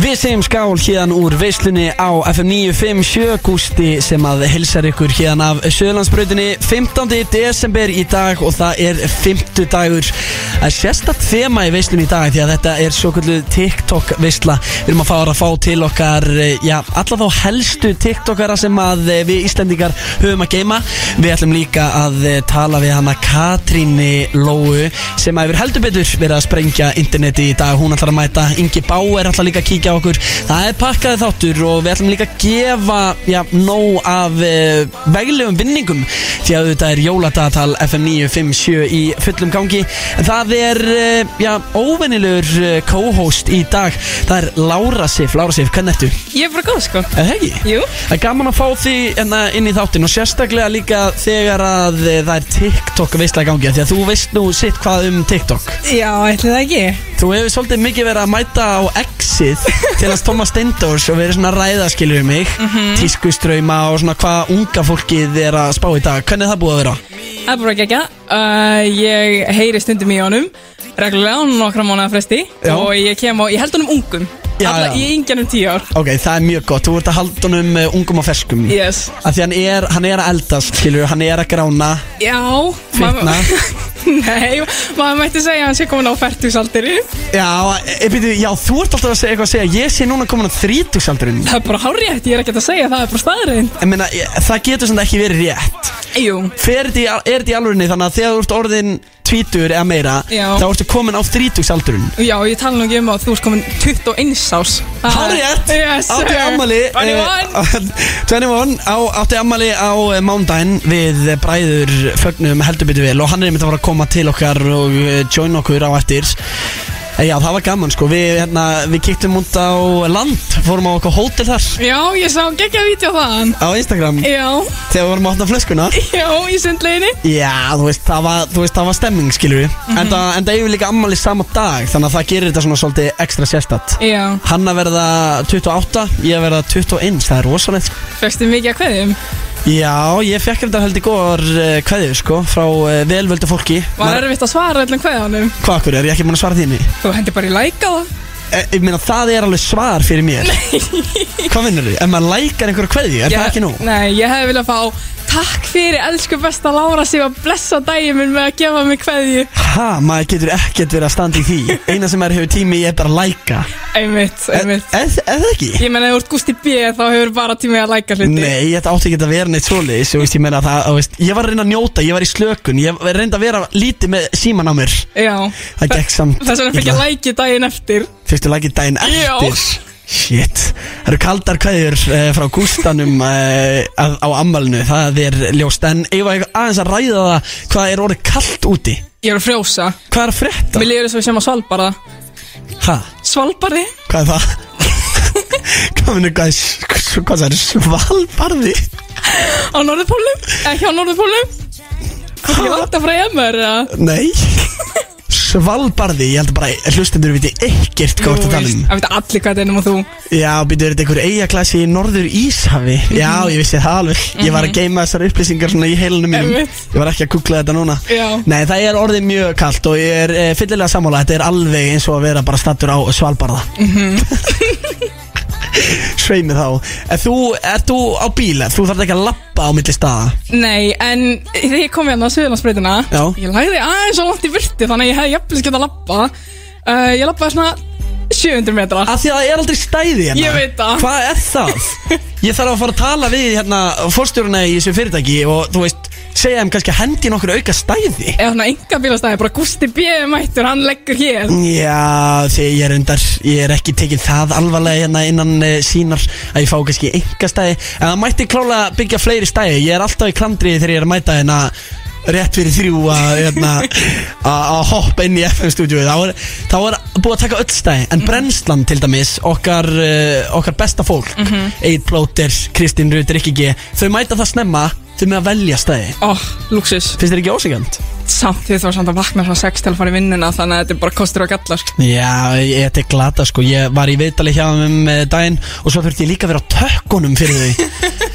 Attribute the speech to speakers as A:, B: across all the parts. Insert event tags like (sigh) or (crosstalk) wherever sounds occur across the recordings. A: Við segjum skál hérna úr veislunni á FM 957 Gústi sem að hilsar ykkur hérna af Sjölandsbrautinni 15. desember í dag og það er 50 dagur Það er sérstakt þema í veislunni í dag því að þetta er svo TikTok veisla Við erum að fara að fá til okkar, eh, já, alla þá helstu TikTokara sem að eh, við Íslendingar höfum að geima Við ætlum líka að eh, tala við hana Katrínu Lóu sem að yfir heldur betur verið að sprengja interneti í dag Hún ætlar að mæta, Ingi Bá er alltaf líka að kíkja á okkur Það er pakkaði þáttur og við ætlum líka að gefa já, nóg af eh, veglegum vinningum Því að þetta er jóladagatal FM 957 í fullum gangi En það er eh, já, óvennilegur eh, co-host í dag Það er Lára Sif, Lára Sif, hvernig ertu?
B: Ég er bara góð sko
A: Er það ekki?
B: Jú.
A: Það er gaman að fá því enna inn í þáttin og sérstaklega líka þegar að eh, það er TikTok veistlega gangi Því að þú veist nú sitt hvað um TikTok
B: Já, ætli það ekki
A: Þú hefur svolítið mikið verið að mæta á Exit til hans Thomas Steindors og verið svona að ræða skilur mig Tískustrauma og svona hvað unga fólkið er að spá í dag Hvernig er það búið að vera?
B: Það er bara ekki ekki uh, Ég heyri stundum í honum Reglulega á nokkra mánuða fresti
A: Já.
B: Og ég kem á, ég held honum ungum
A: Já,
B: Alla,
A: já.
B: Ég yngjan um tíu ár
A: Ok, það er mjög gott, þú ert að halda honum eh, ungum og ferskum
B: Yes
A: Af því hann er, hann er að eldast, skilur, hann er að grána
B: Já
A: Fitna.
B: (laughs) Nei, maður mætti segja að hann sé komin á færtugsaldir Það
A: Já, e, byrju, já, þú ert alltaf að segja eitthvað að segja Ég sé núna komin á þrítugsaldurinn
B: er bara hárétt, ég er ekkert að segja það, það er bara staðurinn
A: Ég meina, ég- það getur svona ekki verið rétt
B: Jú
A: Fer þetta í, al- er þetta í alvörinni þannig að þegar þú ert orðin tvítur eða meira
B: Já.
A: Þá ertu komin á þrítugsaldurinn
B: Já, ég tala nú ekki um að þú ert komin 21 árs Það-
A: Hárétt,
B: Ah, Yes sir.
A: átti ammali
B: (laughs) Only one.
A: (laughs) 21 eh, á, Átti ammali á eh, mánudaginn Við eh, bræður fögnum heldur betur vel Og hann er einmitt að fara að koma til okkar Og eh, join okkur á eftir Eh, Já, það var gaman sko Við, hérna, við kiktum út á land Fórum á okkur hótel þar
B: Já, ég sá geggja vídeo á þaðan
A: Á Instagram
B: Já,
A: Þegar við vorum að opna flöskuna
B: já, í sundleginni
A: Já, þú veist, það var, þú veist, það var stemming, skilur við En það, en það eigum við líka ammali sama dag Þannig að það gerir þetta svona svolítið ekstra sérstætt
B: Já,
A: Hann að verða 28, ég að verða 21, það er rosalegt sko.
B: fegstu mikið að kveðjum
A: Já, ég fekk þetta heldur góðar uh, kveðið, sko Frá uh, velvöldu fólki
B: Var
A: Maður-
B: erfitt að svara öllum kveðanum
A: Hvað akkur er, ég ekki múin að svara þínni
B: Þú hendi bara í læka
A: e, Ég meina, það er alveg svar fyrir mér Hvað vinnur þið? Ef maður lækar einhverja kveðið, er
B: það
A: það ekki nú?
B: Nei, ég hefði viljað fá Takk fyrir, elsku besta Lára sem að blessa daginn minn með að gefa mig kveðju
A: Ha, maður getur ekkert verið að standa í því Eina sem maður hefur tími í er bara að læka
B: Einmitt,
A: Er er-
B: einmitt
A: er það ekki?
B: Ég menna, ef þú ert gústi B þá hefur bara tími að læka hluti
A: Nei, þetta átti ekki að vera neitt svoleiðis þú veist, ég, meina, það, þú veist, ég var að reyna að njóta, ég var í slökun Ég reyndi að vera lítið með síman á mér
B: Já
A: Það gekk samt
B: Þess vegna fikk ég
A: illa.
B: læki daginn eftir
A: Fyrstu lagið daginn
B: Já.
A: eftir Shit, það eru kaldar kveðjur uh, frá Gústanum uh, á ammalinu, það er ljóst En ég var aðeins að ræða það hvað er orðið kalt úti
B: Ég er að frjósa
A: Hvað er að frétta?
B: Mér líður þess að við sem að svalbara
A: Ha,
B: Svalbari?
A: hvað er það? hvað minnur, hvað, er- hvað það er svalbarði?
B: Á Norðupólum? Ekki á Norðupólum? Ég vant að fræja mér að
A: Nei Svalbarði, ég held bara að hlustendur viti ekkert hvað þú ert að tala um
B: Það veit allir hvað þetta er nema þú
A: Já, býtu, er þetta einhver eigaklassi í norður Íshafi? Já, ég vissi það alveg Ég var að geima þessar upplýsingar svona í heilunum mínum
B: Einmitt.
A: Ég var ekki að kúkla þetta núna
B: Já.
A: Nei, það er orðið mjög kalt og ég er e, fyllilega sammála Þetta er alveg eins og að vera bara stattur á Svalbarða mm -hmm. (laughs) Svei mig þá Er þú, er þú á bíla? Þú þarf ekki að lappa á milli staða
B: Nei, en þegar ég kom hérna á Suðurlandsbreytina
A: Já.
B: Ég lagði aðeins á langt í virti Þannig að ég hefði jafnvel getað að labba uh, Ég labbaði svona 700 metra
A: Af því að það er aldrei stæði hérna
B: Ég veit það.
A: Hvað er
B: (laughs)
A: það? Ég þarf að fara að tala við hérna Forstjóruna í þessu fyrirtæki Og þú veist, segja þeim kannski að hendi nokkur auka stæði
B: Eða svona enga bílastæði, bara Gusti B. er mættur, hann leggur hér
A: Já, því ég er undar Ég er ekki tekið það alvarlega hérna innan uh, sínar Að ég fá kannski enga stæði En það mætti klála byggja fleiri stæði Ég er alltaf í klandri þegar ég er að mæta hérna Rétt fyrir þrjú að hérna, (laughs) að- að hoppa inn í FM-stúdíu þá, er- þá er búið að taka öll stæði En brennslan til dæmis, okkar, uh, okkar besta fólk mm -hmm. Eid Plóter, Kristín Rutt, Rikki G Þau mæta það snemma, þau með að velja stæði
B: Ó, oh, luxus
A: Finnst þér ekki ósigjönd?
B: Samt því þú var samt að vakna svona 6 til að fara í vinnuna Þannig að þetta er bara kostur og gallar sko.
A: Já, ég, þetta er glata sko (laughs) Ég var í viðtali hjá þeim um eh, daginn Og svo þurfti ég líka að vera á tökkunum fyrir þau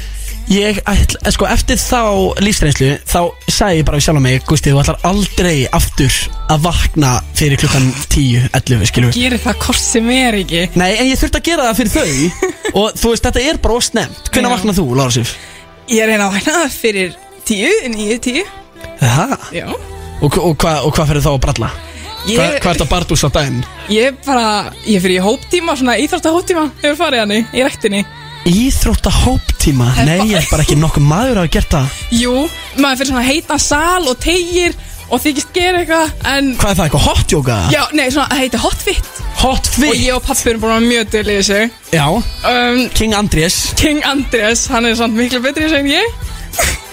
A: Ég, ætl- sko, eftir þá lífsreynslu Þá sagði ég bara við sjálf mig Gústi, þú ætlar aldrei aftur að vakna Fyrir klukkan 10, 11, skilur við
B: Gerir það hvort sem er ekki
A: Nei, en ég þurfti að gera það fyrir (laughs) þau Og þú veist, þetta er bara ósnemt Hvernig
B: Já.
A: vaknað þú, Lára Sif?
B: Ég er hérna að vakna fyrir tíu, nýju, tíu
A: Það?
B: Já
A: Og, og, hva, og hvað fyrir þá að bralla?
B: Ég,
A: Hvað, hvað er þetta bardús á daginn?
B: ég bara, ég fyrir í hóptíma, svona íþrótta hóptíma Hefur farið hann í rektinni
A: Íþrótta hóptíma?
B: Það er
A: Nei,
B: bara-
A: ég er bara ekki nokkuð maður að hafa gert það
B: Jú, maður fyrir svona heitan sal og tegir Og þykist gera eitthvað En,
A: Hvað er það, eitthvað hotjóka?
B: já, nei, svona, það heitir hotfit
A: Hot
B: Og
A: fit?
B: ég og pappi erum búin að vera mjög til í þessu
A: Já,
B: um,
A: King Andrés
B: King Andrés, hann er samt miklu betri í þessu en ég (laughs)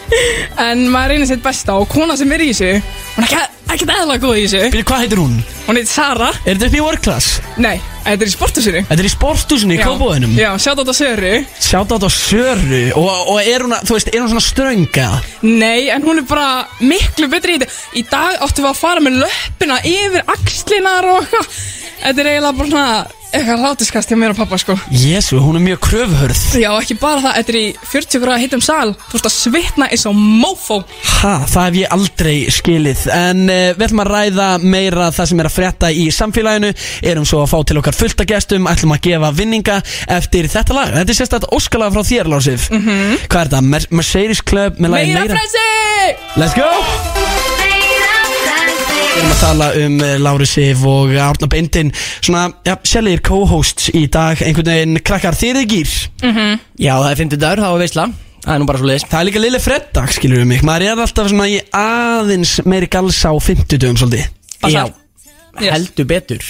B: En maður reynir sitt besta Og kona sem er í þessu Hún er ekki- ekkert eðla góð í þessu
A: Byrju, hvað heitir hún?
B: Hún heitir Sara
A: Er þetta upp í work class?
B: Nei, þetta er í sportusinu
A: Þetta er í sporthúsinu í kópóðinum
B: Já, sjá þetta Söru
A: Sjátt á þetta Söru og, og er hún, að- þú veist, er hún svona strönga?
B: Nei, en hún er bara miklu betri í þetta. Í dag áttum við að fara með löppina yfir axlinar og eitthvað. Þetta er eiginlega bara svona eitthvað rátiskast hjá mér og pappa, sko.
A: Jésu, hún er mjög kröfhörð
B: Já, ekki bara það, þetta er í 40 gráða hittum sal. Þú ert að svitna eins og mófó.
A: Ha, það hef ég aldrei skilið En uh, við ætlum að ræða meira það sem er að frétta í samfélaginu Erum svo að fá til okkar fullt að gestum Ætlum að gefa vinninga eftir þetta lag Þetta er sérstaklega óskalega frá þér, Lásif mm -hmm. Hvað er þetta? Mer Mercedes Club með lagið
B: Mhm. Meira,
A: meira?
B: frelsi!
A: Let's go! Við erum að tala um uh, Lári Sif og Árna Bindin Svona, já, sjælir co-hosts í dag Einhvern veginn krakkar þýrið gýr
C: Já, það er 50 dagur, þá er veisla Það er nú bara svo leiðis
A: Það er líka lille freddag, skilur við mig Maður er alltaf svona í aðeins meiri gals á 50 dögum svolítið
C: Já,
B: Basar. Yes.
C: heldur betur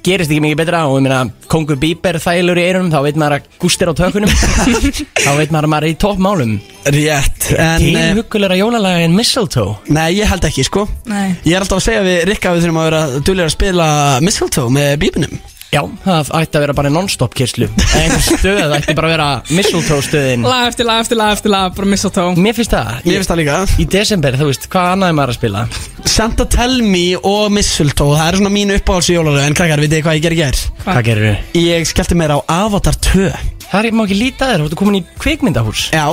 C: Gerist ekki mikið betra og ég meina Kongur Bíber þælur í eyrunum, þá veit maður að gústir á
A: (laughs)
C: tökunum Þá veit maður að maður er í toppmálum
A: Rétt, en eh,
C: Tilhugulega jólalaga en mistletoe
A: Nei, ég held ekki, sko
B: Nei.
A: Ég er alltaf að segja við Rikka að við þurfum að vera duðlega að spila Mistletoe með bíbunum
C: Já, það ætti að vera bara non-stop kyrslu
A: (laughs)
C: Einhver stöð það ætti bara að vera mistletoe stöðin
B: Lag eftir lag eftir lag eftir lag, bara missa tó.
A: Mm,
C: Mér finnst það
A: Mér finnst það líka
C: Í desember, þú veist, hvað annað er maður að spila?
A: Santa Tell Me og Mistletoe Það er svona mín uppáhalds í jólalög En krakkar, vitið þið hvað ég gerði gær?
B: Hvað?
C: Hvað gerir þau?
A: Ég skellti mér á Avatar 2
C: Það er, má ekki líta þér, þú ertu komin í kvikmyndahús
A: Já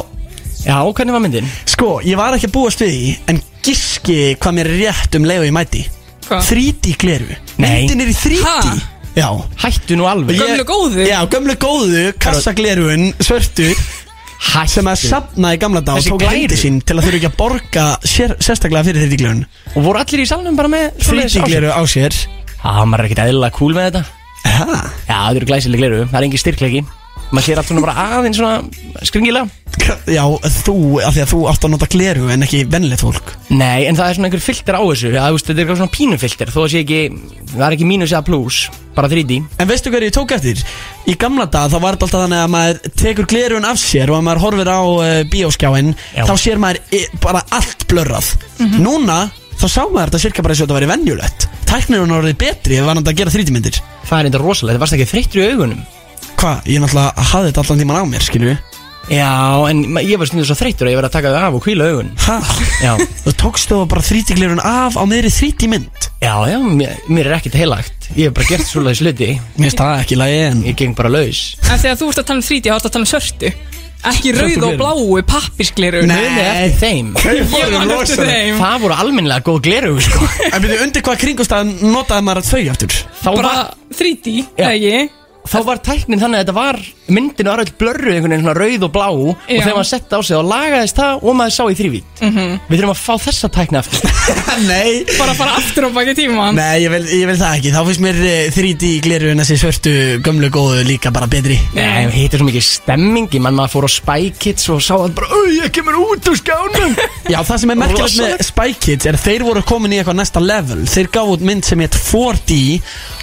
C: Já, hvernig var myndin?
A: Sko, ég var ekki að búast við því En giski hvað mér er rétt um leiðu ég mæti
B: Hvað?
A: 3D gleru
C: Nei.
A: Myndin er í 3D
B: Ha?
A: Já
C: Hættu nú alveg
A: Ég-
B: Gömlu góðu?
A: Já, gömlu góðu Kassaglerun, svörtu
C: Hættu
A: sem að safna í gamla dag og
C: Þessi
A: tók
C: glæru.
A: lændi sín til að þurfa ekki að borga sér, sérstaklega fyrir þrítíklerun
C: Og voru allir í salnum bara með svoleiðis á sér?
A: þrítíkleru á sér
C: Já, maður er ekkert eðlilega cool með þetta
A: ha,
C: Já, það eru glæsileg gleru, það er engin styrklegi Maður sér allt svona bara aðeins svona skringilega
A: já, þú, af því að þú átt að nota gleru en ekki vennilegt fólk
C: Nei, en það er svona einhver filter á þessu Já, þú veist, þetta er eitthvað svona pínufilter Þó að sé ekki, það er ekki mínus eða plus Bara 3D
A: en veistu hverju ég tók eftir? í gamla dag þá var þetta alltaf þannig að maður tekur glerun af sér og að maður horfir á uh, bíóskjáin
C: Já.
A: þá sér maður e, bara allt blörrað núna þá sá maður þetta cirka bara eins og þetta væri venjulegt tæknirinn orðið betri ef var náttúrulega að gera þrítímyndir
C: Það er eitthvað rosalega, þetta varst ekki þreyttur í augunum
A: hvað, ég náttúrulega hafði þetta allan tíman á mér, skilju
C: Já, en ma- ég var stundum svo þreyttur að ég verið að taka þau af og hvíla augun
A: ha,
C: Já,
A: Þú tókst þú bara 3D-glerun af á meðri 3D-mynd
C: já, já, mér, mér er ekkert heilagt Ég hef bara gert svoleiðis hluti
A: Mér finnst það ekki lægi en
C: Ég geng bara laus
B: En þegar þú ert að tala um 3D, þá ert að tala um sörtu. Ekki rauð og
C: gleraugu.
B: bláu pappiskleru.
A: Nei.
C: Muni eftir þeim
B: Ég man eftir þeim.
C: Það voru almennilega góð gleru, sko
A: En byrju, undir hvað kringustæðan notaði maður að þau aftur?
C: Þá
B: Bara
C: var
B: 3D,
C: Já.
B: eða ekki?
C: þá var tæknin þannig að þetta var myndin var öll blörru einhvern veginn svona rauð og blá og
B: Já.
C: þegar maður sett á sig og lagaðist það og maður sá í þrývít við þurfum að fá þessa tækni aftur
A: Nei
B: Bara fara aftur á baki tíman.
A: Nei, ég vil, ég vil það ekki Þá finnst mér eh, 3D-glerun þessi svörtu gömlu góðu líka bara betri
C: Nei, við hittum svo mikið stemmingi mann maður fór á Spy Kids og sá það bara Au, ég kemur út úr skjánum
A: Já, það sem er merkilegt með
C: Rosalegt.
A: Spy Kids er að þeir voru komin í eitthvað næsta level Þeir gáfu út mynd sem heit 4D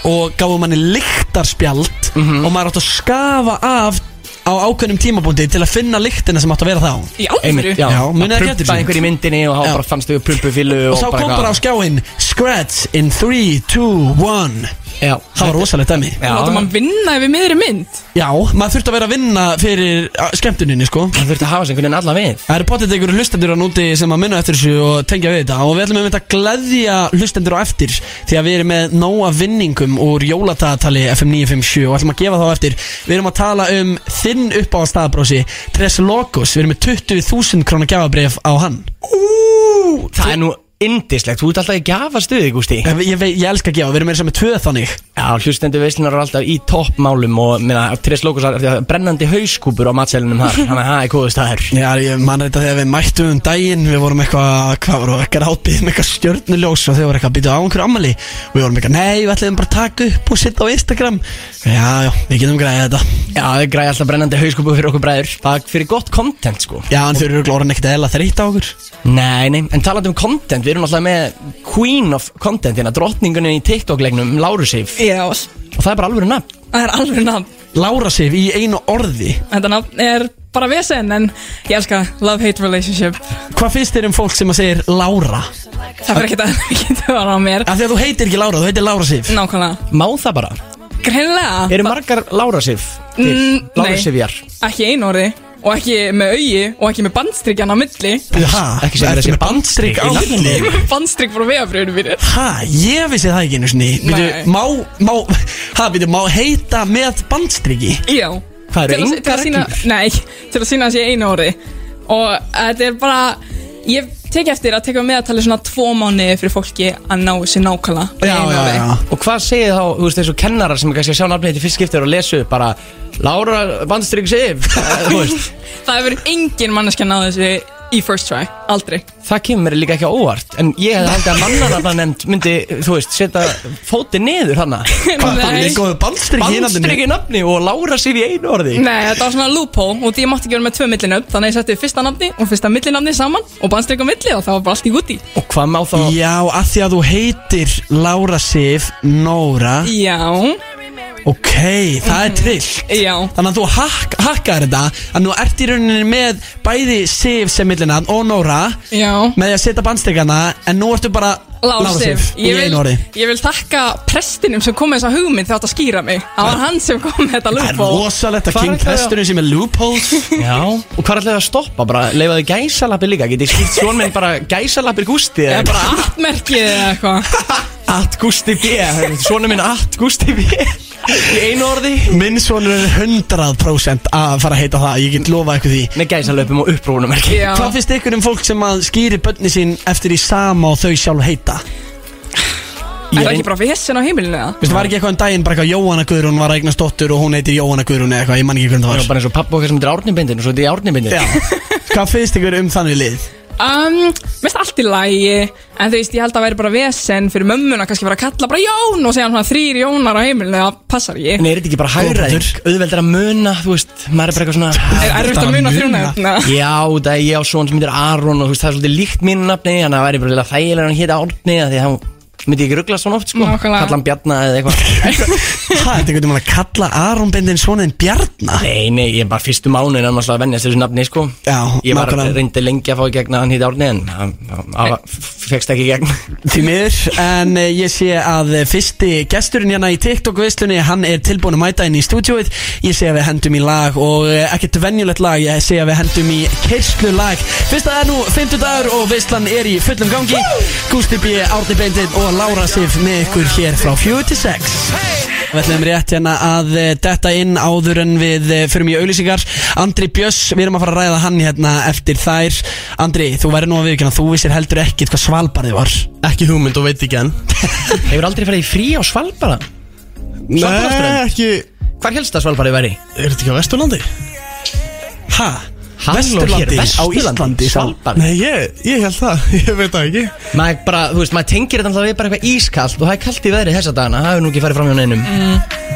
A: og gáfu manni lyktarspjald og maður átt að skafa af á ákveðnum tímabúndi til að finna lyktina sem átt að vera þá
B: Í alvöru?
C: Einmitt,
A: Já,
C: já, já
A: munið
C: munið
A: ekki
C: að
A: eftir
C: prumpa
A: þessu.
C: einhver í myndinni og þá
A: Já.
C: Oh bara fannst þau prumpu fyllu
A: Og þá kom bara á skjáinn Scratch in 3, 2, 1
C: Já,
A: Það var rosalegt dæmi
C: Já.
B: Láta mann vinna yfir miðri mynd
A: Já, maður þurfti að vera að vinna fyrir a, skemmtuninni sko
C: það þurfti að hafa sig einhvern veginn alla við
A: Það eru potið einhverju hlustendur á núti sem að minna eftir þessu og tengja við þetta og við ætlum einmitt að gleðja hlustendur á eftir því að við erum með nóa vinningum úr jóladagatali FM 957 og ætlum að gefa þá eftir Við erum að tala um þinn upp á staðbrósi Tres Locos, við erum með 20.000 krónar gjafabref á hann
C: Ú, það er nú indislegt, þú ert alltaf í gafastuði, Gústi
A: Ég, ég, vei- ég elska að gefa, við erum með þess að með tvöð þannig
C: Já, hlustendur veislunar eru alltaf í toppmálum og minna, Tres Locos, af því að brennandi hauskúpur á matselunum
B: (laughs)
C: þar, þannig að það er góðu staður
A: Já, ég man þetta þegar við mættum um daginn Við vorum eitthvað, hvað vorum við, eitthvað ábygg með eitthvað stjörnuljós og þau voru eitthvað að býta á einhverju ammali og við vorum eitthvað, nei, við ætlum bara að taka upp og setja á Instagram Já, já, við getum græðið þetta
C: Já, það græði alltaf brennandi hauskúpur fyrir okkur bræður Það er fyrir gott content, sko
A: Já, en þau eru glóran ekkert eða þreytt á okkur
C: Nei, nei, en talandi um content, við erum alltaf með Queen of Content, hérna drottningunni í TikTok-legnum, Láru Sif
B: Já,
C: Og það er bara alveg nafn
B: það er alveg nafn
A: Lára Sif í einu orði
B: Þetta nafn er bara vesen En ég elska love-hate relationship
A: Hvað finnst þér um fólk sem að segir Lára?
B: Það fyrir ekkert að (laughs) ekki það var á mér
A: Af því að þú heitir ekki Lára, þú heitir Lára Sif
B: Nákvæmlega
C: Má það bara?
B: Greinlega
C: Eru margar Lára Sif til?
B: Mm,
C: Lára
B: nei.
C: Sifjar
B: Ekki einu orði Og ekki með augi Og ekki með bandstrykjan á milli (laughs)
A: Ha,
C: Ekki sem
A: ertu
C: þessi
A: með bandstrik á milli?
B: Bandstryk frá vegafröðinu mínu
A: Ha, ég vissi það ekki einu sinni Býtu,
B: Nei.
A: má, má, (laughs) ha, býtu, má heita með bandstriki?
B: Já
C: Hvað
B: Til
C: eru
B: að- til að
C: engar
B: sýna-
C: reglur?
B: Nei, til að sína að sé einu orði Og þetta er bara Ég tek eftir að teka meðatali svona tvo mánuði fyrir fólki að ná sér nákvæmlega með
A: Já,
B: einu
A: já,
B: orði.
A: já
C: Og hvað segir þá, þú veist, þessu kennarar sem kannski að sjá nafnið þetta í fyrst skiptir og lesu upp bara Lára Bandstryk
B: (laughs)
C: Sif Þú veist,
B: Það hefur engin manneskja náð þessu í first try, aldrei
C: það kemur mér líka ekki á óvart En ég hefði haldið að mannarafnanefnd myndi, þú veist, setja fótið niður hana
A: Hvað, það
B: Nei.
A: er góðu bandstriki í nafninu?
C: Bandstryk í nafni og Lára Sif í einu orði
B: Nei, þetta var svona loophole og því ég mátti ekki vera með tvö millinöfn Þannig að ég setti fyrsta nafni og fyrsta millinafni saman og bannstrik á milli og það var bara allt í guti
C: Og hvað má þá
A: Já, af því að þú heitir Lára Sif Nóra
B: Já,
A: Ok, það er trillt
B: já,
A: Þannig að þú hak, hakkar þetta að nú ert í rauninni með bæði Sif sem millina og Nóra
B: já
A: með því að setja bandstrikana en nú ertu bara
B: Lára Sif
A: í
B: ég
A: einu
B: vil,
A: orði
B: ég vil þakka prestinum sem kom með þessa hugmynd þátt að skýra mig Það var hann sem kom með þetta
A: Það er
B: loophole
A: rosalegt að
C: Hvað
A: King
C: ætlaði að-
A: Presturinn sem er loopholes
B: (laughs)
C: Já, og hvað ætlaði að stoppa bara, leifaði gæsalappir líka, getið skýrt svon minn bara gæsalappir gústi
B: Eða bara atmerkið eða eitthvað
C: At Gusti B Svona minn At Gusti B Í einu orði
A: Minn sonur er 100% að fara að heita það Ég get lofað ykkur því
C: Með gæsalöpum og upprúnum ekki
B: Já.
A: Hvað finnst ykkur um fólk sem að skýri bönni sín eftir í sama og þau sjálf heita?
B: Er það ekki bara vesen á heimilinu eða?
A: Vistu, var ekki eitthvað um daginn bara eitthvað Jóhanna Guðrún var að eignast dóttur og hún heitir Jóhanna Guðrún eða eitthvað, ég man ekki hvernig
C: Það var
A: það var
C: bara eins og pappa okkar sem þetta er árnibindin og svo þetta er árnibindin
A: Já, hvað finnst ykkur um þannig lið?
B: Um, mest allt í lægi En þú veist, ég held að það væri bara vesen fyrir mömmuna kannski bara að kalla bara Jón og segja hann svona þrýr Jónar á heimilinu Það passar ég
C: En er þetta ekki bara hægræðing? Auðveld er að muna, þú veist, maður er bara eitthvað svona
B: Er erfitt
A: Þetta
B: að muna
A: var muna.
B: þrjóna
C: Já, það er ég á svona sem heitir Aron og þú veist, það er svolítið líkt mínu nafni Þannig að það væri bara liðlega þægilega hann hétt Árni af Því að þá myndi ég ekki ruggla svona oft, sko
B: Nákvæmlega.
C: Kalla hann Bjarna eða (laughs) eitthvað
A: Það er einhvern veginn að kalla Aronbindin svona en Bjarna
C: Nei, nei, ég er bara fyrstu mánu en annars að vennast þessu nafni, sko
A: Já,
C: Ég var
A: nákvæmlega.
C: reyndi lengi að fá í gegn að hann hétt Árni en hann- hann- hann fékkst ekki í gegn
A: Því miður, en eh, ég sé að eh, fyrsti gesturinn hérna í TikTok-veislunni hann er tilbúin að mæta inn í stúdíóið ég sé að við hendum í lag og eh, ekkert venjulegt lag, ég sé að við hendum í kerslu lag, fyrst að það er nú 50 dagur og veislan er í fullum gangi Gústi B, Árni Beindin og Lára Sif með ykkur hér frá 4 til 6 Við ætlum rétt hérna að eh, detta inn áður en við eh, förum í auðlýsingar Andri Bjöss, við erum að fara að ræða hann hérna eftir þær Andri, þú væri nú að viðkjöna, þú vissir heldur ekkit hvað svalbarði var
D: Ekki hugmynd og veit ekki enn
C: Hefur aldrei farið í frí á Svalbara? Svalbarðaströnd?
D: ekki
C: Hvar helst að Svalbari væri?
D: Er þetta ekki á Vesturlandi?
A: Hæ?
C: Halló, hér
A: Vesturlandi?
C: er
A: Á
C: Vesturlandi,
A: Íslandi? sá-
C: Svalbarði.
D: Nei, ég, ég held það, (laughs) ég veit það ekki
C: Maður bara, þú veist, maður tengir þetta alltaf við bara eitthvað ískalt og það er kalt í veðri þessa dagana, það hefur nú ekki farið fram hjá neinum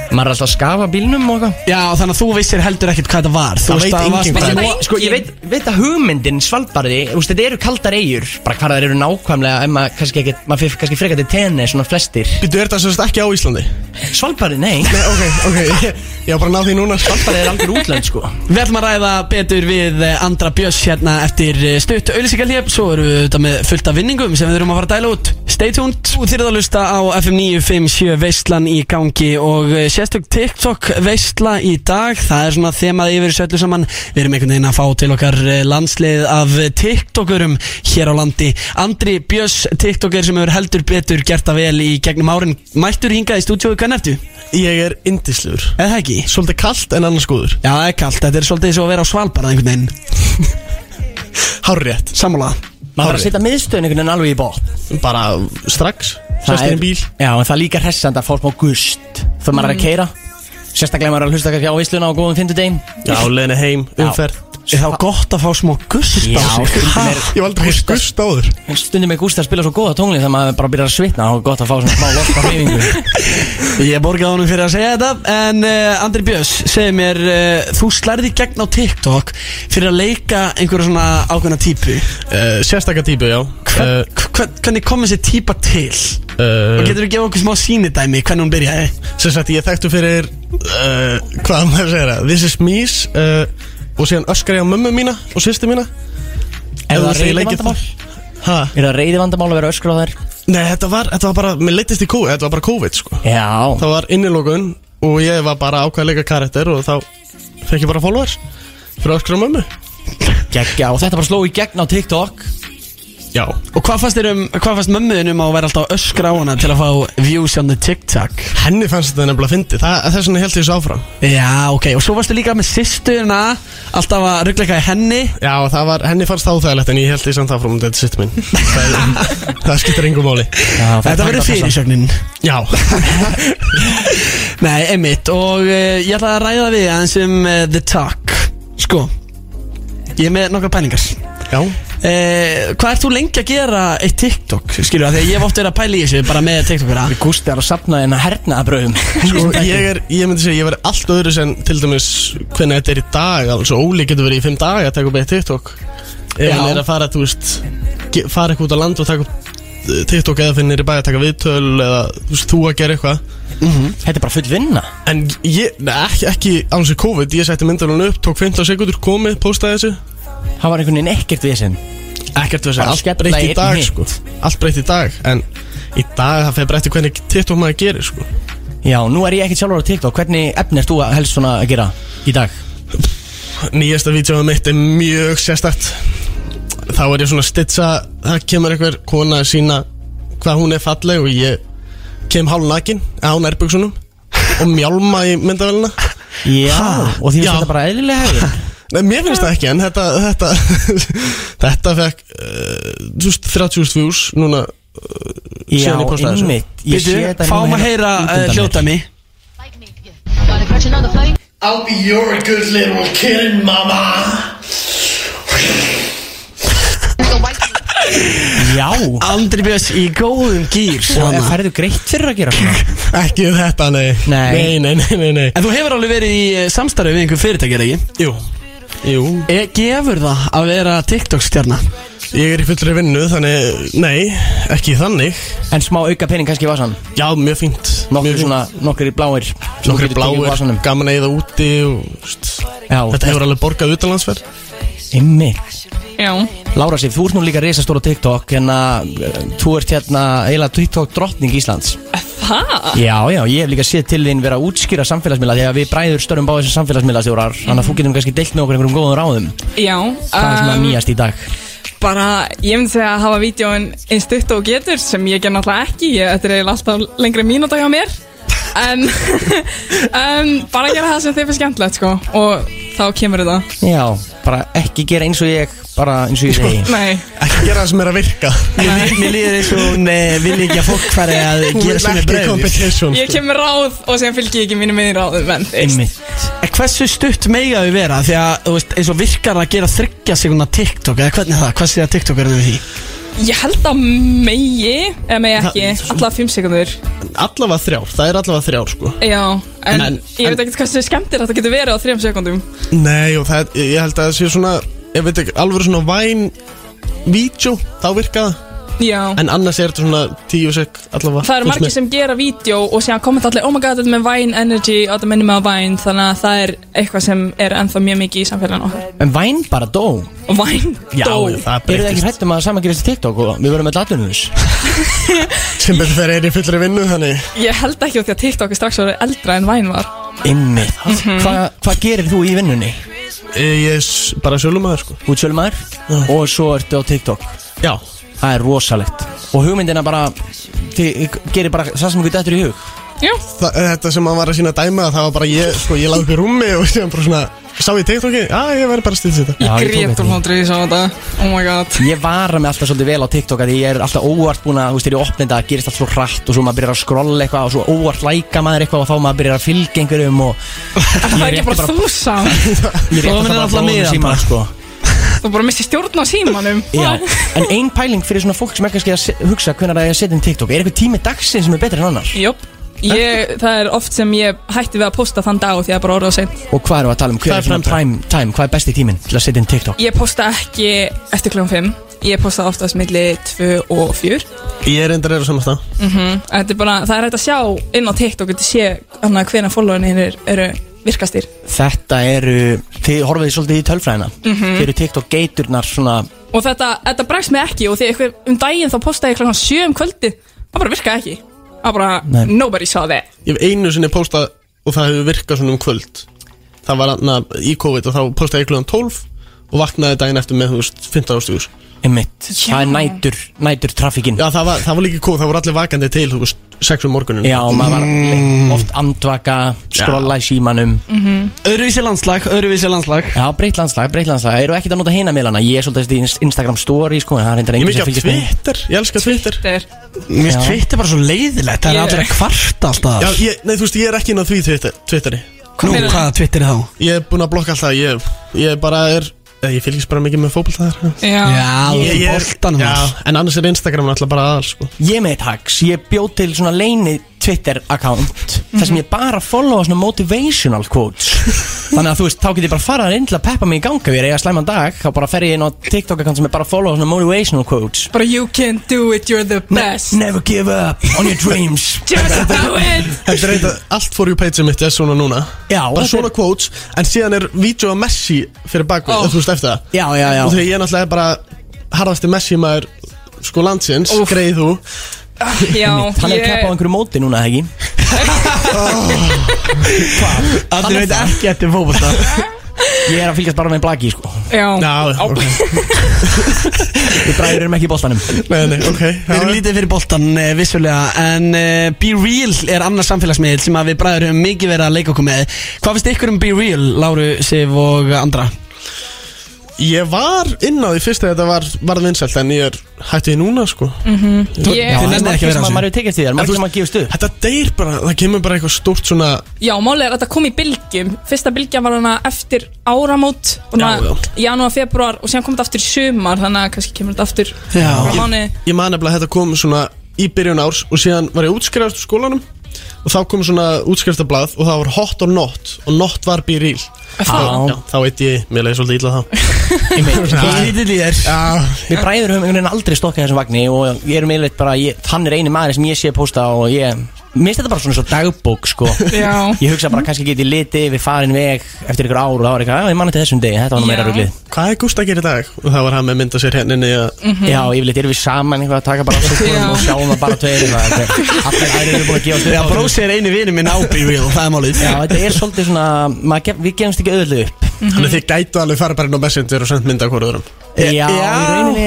C: maður er alltaf að skafa bílnum og eitthvað
A: Já, þannig að þú vissir heldur ekkert hvað þetta var Þú
D: Það
A: veist að
D: veit
A: það var
D: enginn
A: bara-
D: hvað
B: er.
C: Ég- Sko, ég veit, veit að hugmyndin svalbarði, þú veist, þetta eru kaldar eigur bara hvað það eru nákvæmlega en maður kannski ekkert, maður fyrir kannski frekar til tenni svona flestir
D: Býtu, er það sérst ekki á Íslandi?
C: Svalbarði, nei,
D: Nei, ok, ok, (laughs) ég, ég var bara að ná því núna
C: Svalbarði er algjör útlönd, sko
A: Við ætlum að ræða betur við eh, Andra Björns hérna eftir eh, stutt auðlýsingalíf Svo erum við auðvitað með fullt af vinningum sem við erum að fara að dæla út Stay tuned Þú þyrðu að lusta á FM 957 veistlan í gangi og eh, sérstök TikTok veistla í dag Það er svona þemað yfir þessu öllu saman Við erum einhvern veginn að fá til okkar eh, landslið af eh, TikTokurum hér á landi Andri Björns TikToker sem hefur heldur betur gert að vel í gegnum árin Mættur hingað í stúdíói, hvernig ertu?
D: Ég er indislegur
A: Eða það ekki?
D: Svolítið kallt en annars góður
A: Já, það er kallt, þetta er svolítið eins og að vera á Svalbard einhvern veginn
D: Hárrétt
A: Sammála
C: Maður þarf
D: Hárrétt.
C: að setja miðstöðin einhvern veginn alveg í bótt
D: Bara strax Sérst inn í bíl Mm.
C: Já, en það er líka hressand að fólk má gust Þegar maður er að keira Sérstaklega ef maður er að hlusta kannski á veisluna á góðum fimmtudegin
D: Já, leiðin heim, umferð
A: Er þá gott að fá smá gust á
C: Já,
A: sig?
C: stundum
A: Ha?
C: er,
D: Ég var aldrei heist gust áður
C: stundum er gúst að spila svo góða tónli Þegar maður bara byrjar að svitna og gott að fá svona smá lospa hreyfingu
A: Ég borgaði honum fyrir að segja þetta En uh, Andri Björns, segir mér uh, Þú slærði gegn á TikTok Fyrir að leika einhverja svona ákveðna típu
D: uh, Sérstakka típu, já
A: Hvern,
D: uh,
A: hvern, Hvernig kom þessi típa til? Og
D: uh,
A: getur þú gefa okkur smá sýnidæmi Hvernig hún byrjaði?
D: Sem sagt, ég þekktu fyrir uh, Hvað á maður segir það? This is me uh, Og síðan öskar ég á mömmu mína og sýstu mína
C: Er það
D: þú segir
C: reyði
D: lengi
C: vandamál?
D: Ha?
C: Er það reyði vandamál að vera öskur á þær?
D: Nei, þetta var, þetta var bara, mér leittist í COVID, þetta var bara COVID, sko
C: Já,
D: Það var innilókun og ég var bara ákveðleika karakter og þá fekk ég bara followers Fyrir öskra á mömmu
C: geggja Og þetta bara sló í gegn á TikTok
D: Já
A: Og hvað fannst, þér um, hvað fannst mömmuðin um að vera alltaf að öskra á hana Til að fá views on the TikTok?
D: Henni fannst þetta nefnilega fyndi, þess vegna held ég þessu áfram
A: Já, ok Og svo varstu líka með sýstuna Alltaf að ruggla eitthvað í henni
D: Já, það var, henni fannst það óþægilegt en ég held því samt áfram þetta er sitt minn Það, er- það skiptir engum máli
C: Já, það er
A: Þetta verður
C: tannbata-
A: fyrirsögnin
D: Já
A: Nei, einmitt og uh, ég ætla að ræða við aðeins um uh, The Talk Sko, ég er með nokkra pælingar
D: Já
A: uh, Hvað ert þú lengi að gera eitt TikTok? Skilur það, þegar ég hef oft verið að pæla í þessu bara með TikTokera
C: Gústi er að sapna en að herna að bröðum
D: Sko, ég er, ég myndi segja, ég verði allt öðru sem til dæmis hvernig þetta er í dag alveg svo Óli getur verið í fimm daga að taka upp eitt TikTok Ef
A: Já.
D: hann er að fara, þú veist, ge- fara eitthvað út á land og taka upp eh, TikTok eða finnir í bæ að taka viðtöl eða þú veist, þú að gera eitthvað
C: Þetta er bara full vinna
D: En ég, nei, ekki, ekki án sér COVID, ég setti myndalun upp, tók 15 sekundur, komið, postaði þessu
C: Það var einhvern veginn ekkert við sinn
D: Ekkert
C: Bara
D: við að segja,
C: skella
D: allt breytt
C: í
D: í
C: einn
D: dag
C: hitt.
D: sko Allt breytt í dag, en í dag það fer breytti hvernig TikTok maður gerir sko
C: Já, nú er ég ekkert sjálfur á TikTok Hvernig efni ert þú að helst svona að gera í dag?
D: Nýjasta vídjóða mitt er mjög sérstakt Þá er ég svona að stitsa, það kemur einhver kona að sína hvað hún er falleg og ég kem hálf nakin á nærbuksunum og mjálma í myndavælina
C: Já, og því finnst
D: Já.
C: þetta bara eðlilega
D: (laughs)
C: hefur
D: Nei, mér finnst það ekki en þetta þetta, (laughs) þetta fekk uh, þú veist, 30.000 views núna
C: Já,
D: Síðan ég postaði þessu.
C: einmitt Ég
A: Býtu,
C: sé þetta
A: fáum
C: núna
A: að
C: hérna
A: heyra
D: eh,
C: út
A: uh,
C: undan mér.
A: hljótami
E: Like me, yeah. Got a crush another flame?
F: I'll be your good little kid, mama.
E: Like a white
C: Já,
A: Andri Björns í góðum gýr
C: og
A: svona.
C: færðu greitt fyrir að gera svona
D: Ekki um þetta, nei
C: Nei.
D: nei, nei, nei, nei, nei.
A: En þú hefur alveg verið í eh, samstarfi við einhver fyrirtækja, er það ekki?
D: Jú, jú
C: Eh,
A: E, gefur það að vera TikTok-stjarna?
D: Ég er í fullri vinnu, þannig, nei, ekki þannig
C: En smá auka pening kannski í
D: (laughs)
C: vasan
D: Já, mjög fínt
C: Nokkur
D: Mjög
C: svona, nokkur í bláir
D: fínt. Nokkrir bláir,
C: vasanum.
D: gaman að eða úti og, st,
C: Já,
D: Þetta hefur alveg borgað utanlandsferð
C: einmitt
B: Já,
C: Lára Sif, þú ert nú líka reisastóra TikTok Hérna, eh, þú ert hérna eiginlega TikTok drottning Íslands
B: það
C: Já, já, ég hef líka séð til þín vera að útskýra samfélagsmiðla Þegar við bræður störum báðið sem samfélagsmiðlastjórar Þannig að þú getum kannski deilt með okkur einhverjum góðum ráðum
B: Já,
C: Hvað er svona
B: um,
C: nýjast í dag?
B: bara ég myndi segja að hafa vídjóin eins stutt og getur sem ég ger náttúrulega ekki, ég, þetta er eiginlega alltaf lengri mínúta hjá mér en (laughs) um, bara gera það sem þið fyrir skemmtilegt sko og þá kemur þetta
C: Já, bara ekki gera eins og ég Bara eins og ég segi
B: Nei,
D: Ekki gera það sem er að virka
A: Mér lí- mér líður eins og hún eh, vilji ekki að fólk fari að gera sem er breyður
D: competition sko.
B: ég kemur ráð og sem fylgir ég ekki mínu meðin ráðum en þú veist.
C: (laughs) Einmitt
A: En Hversu stutt mega þau vera? Því að, þú veist, eins og virkar að gera þryggja sekundar TikTok Eða hvernig er það? Hvað sé að TikTok er það við því?
B: Ég held að megi, eða megi ekki, alltaf 5 sekundur
D: Allavega þrjár, það er allavega þrjár sko
B: Já, en,
D: En-
B: ég veit ekkert hversu skemmtir þetta getur verið á 3 sekundum
D: Nei og það, er- ég held að það sé svona Ég veit ekki, alveg svona væn Vídeó, þá virka það
B: Já,
D: En annars er þetta svona tíu sek allavega
B: það eru
D: finnst
B: margir
D: mér.
B: sem gera vídeo og síðan komið allir, oh my god, þetta er með Vine Energy og þetta minnir mig á Vine, þannig að það er eitthvað sem er ennþá mjög mikið í samfélaginu okkar
C: En væn bara dó
B: Og Vine,
D: Já,
B: dó
D: já, það
C: Eru þið ekki
D: breytist
C: hrættum að saman gerist í TikTok og við verðum með latunum þess
D: Sem betur þeir eru í fullri vinnu þannig
B: Ég held ekki út því að TikTok er strax orðið eldra en Vine var
C: Ymmið Hvað gerir þú í vinnunni?
D: Ég er s- E, bara sjölumæður sko
C: Þú ert sölumæður og svo ertu á TikTok
D: Já,
C: Það er rosalegt Og hugmyndina bara Þið gerir bara það sem við dættur í hug
B: Já,
D: Þa, þetta sem hann var að sína dæma það var bara ég, sko, ég laði upp í rúmi og síðan bara svona, sá ég TikToki, já ég verði bara að stýta þetta.
C: Já,
B: ég
C: ég tók
B: grét
C: eftir
B: úr
C: því.
B: hóndri í svona þetta Oh my god
C: Ég vara mig alltaf svolítið vel á TikTok að ég er alltaf óvart búin að, þú veist, þegar ég opna þetta það gerist allt svo hrætt og svo maður byrjar að skrolla eitthvað og svo óvart læka maður eitthvað og þá maður byrjar að fylgja einhverjum og
B: Það er ekki bara þú samt
C: ég
A: Svo finnir alltaf miðan
C: síma,
A: bara.
C: sko.
B: Þú bara missir stjórn á símanum
C: (laughs) Já, en ein pæling fyrir svona fólk sem er kannski að se- hugsa hvernig það er að setja inn TikTok er eitthvað tími dagsinn sem er betri en annars
B: Jóp Ég, það er oft sem ég hætti við að posta þann dag því að bara orða á seint
C: og hvað erum við að tala um, hver er
D: Hvað er
C: svona prime time hvað er besti tíminn til að setja inn TikTok
B: Ég posta ekki eftir kljóðum 5 Ég posta oftast milli 2 og 4
D: Ég er endar eru saman stað.
B: Þetta er bara, það er hægt að sjá inn á TikTok Þetta sé hann að hvena followin hinn eru virkastir
C: þetta eru, þið horfið svolítið í tölfræðina
D: Mhm.
C: þið eru TikTok geiturnar svona
B: Og þetta, þetta bregst mig ekki og því einhver, um daginn þá posta ég kljóðan 7 um kvöldi Það bara virkaði ekki Það bara,
C: Nei.
B: nobody saw that
D: Ég hef einu sinni postað og það hefur virkað svona um kvöld. Það var na, í COVID og þá postaði ég klúðan 12 og vaknaði daginn eftir með, þú veist, 15 ástugur.
C: einmitt, það er nætur, nætur trafíkin
D: Já, það var, það var líka COVID, það voru allir vakandi til, þú veist, 6 um morgunin.
C: Já, maður var
D: Mm.
C: le- oft andvaka, skrolla í símanum
A: Öruvísi landslag, öruvísi landslag
C: Já, breytt landslag, breytt landslag Eru ekkert að nota hina meðlana Ég er svolítið í Inst- Instagram story, sko En það er reyndar
D: Ég er
C: einhver
D: mikið
C: sem fylgist
D: af
C: með
D: Twitter, ég elska Twitter.
B: Þetta
A: Mér
B: er
C: Já.
A: finnst Twitter bara svo leiðilegt Það er
B: Ég-
A: allir að kvarta alltaf
D: Já, ég, nei, þú veist, ég er ekki inn á því Twitter, Twitteri.
A: Nú,
B: meinar-
A: hvaða Twitter er þá?
D: Ég er búin að blokka alltaf, ég, ég bara er, eh, ég fylgist bara mikið með fótballtæðar.
B: Já,
A: Já, þú
D: Ég- ég er-
A: boltanum
D: Já,
A: þar.
D: en annars er Instagram alltaf bara aðal sko.
C: Ég er með tags, ég bjóð til svona leini Twitter account Þar
A: Mhm.
C: sem ég bara followa svona motivational
A: (laughs)
C: quotes Þannig að þú veist, þá get ég bara farað inn til að peppa mig í ganga Við erum eiga slæman dag Þá bara fer ég inn á TikTok account sem er bara að followa svona motivational quotes
B: bara you can do it, you're the best
C: Never give up on
A: (laughs)
C: your dreams
B: Just do it
D: Þetta er eitthvað, allt for you page mitt er svona núna
C: Já,
D: Bara
C: þetta
D: svona
C: er-
D: quotes En síðan er vídeo af Messi fyrir bakvið
B: Ó.
D: oh. Þú veist eftir það
C: Já, já, já
D: Og þegar ég er náttúrulega bara harðasti Messi maður sko landsins
B: Úff.
D: Greið þú
B: Já,
C: Hann er að keppa á einhverju móti núna, eða ekki?
A: (laughs) Allir veit ekki eftir fókbalta
C: (laughs) Ég er að fylgjast bara með blaki, sko
B: Já,
D: Já, ok
C: Við bræður erum ekki í boltanum
D: Nei, nei, ok
C: (laughs)
A: Við erum
D: já.
A: lítið fyrir boltan eh, vissulega En uh, Be Real er annars samfélagsmiðl sem að við bræður höfum mikið verið að leika okkur með Hvað finnst ykkur um Be Real, Láru, Sif og Andra?
D: Ég var inn á því fyrst þegar þetta var, var vinsælt En ég er hætti því núna sko
B: ég,
A: Já,
C: Það
A: Nei,
C: er
A: nei, ekki
C: margir
A: vera á sig.
C: sem að Mm. maður hefur tekist í þér, margir sem að gefast upp
D: Þetta deyr bara, það kemur bara eitthvað stórt svona
B: já málið er að þetta kom í bylgjum Fyrsta bylgja var hana eftir áramót
D: Já,
B: Janúar, februar og síðan kom þetta aftur í sumar Þannig að kannski kemur þetta aftur
A: Já.
B: frá
D: Ég-
B: mánuði.
D: Ég man nefnilega að þetta kom svona í byrjun árs og síðan var ég útskrifast úr skólanum og þá kom svona útskriftablað og það var hot or not og not var be real
C: Já.
D: Já, þá veit ég, mér leiði svolítið illa þá
A: Lítið í þér
D: Já,
C: Við bræður höfum einhvern veginn aldrei stokkað þessum vagni og ég erum yfirleitt bara, ég, hann er eini maður sem ég sé að posta og ég, mér finnst þetta bara svona svo dagbók sko (laughs)
B: Já.
C: Ég hugsa bara kannski get ég litið við farin veg eftir ykkur ár og það var eitthvað, já ég manna til þessum degi, þetta var nú meira
B: Já.
C: ruglið
D: hvað er Gústa að gera í dag? Og það var hann með mynda sér henninni að
C: Já, yfirleitt erum við saman eitthvað að taka bara á
B: Mhm. Já.
C: sukkunum og sjáum það bara tveir eitthvað, þetta- Allir aðrir eru búin að gefa
A: Já,
C: stuð
A: brósi er einu vinur minn á Be Real, það er málið
C: Já, þetta er svolítið svona, maður, gef- við gefumst ekki öðlu upp
D: Þannig að þið gætu alveg fara bara inn á messenger og senda mynda hverður um
C: Já, í rauninni,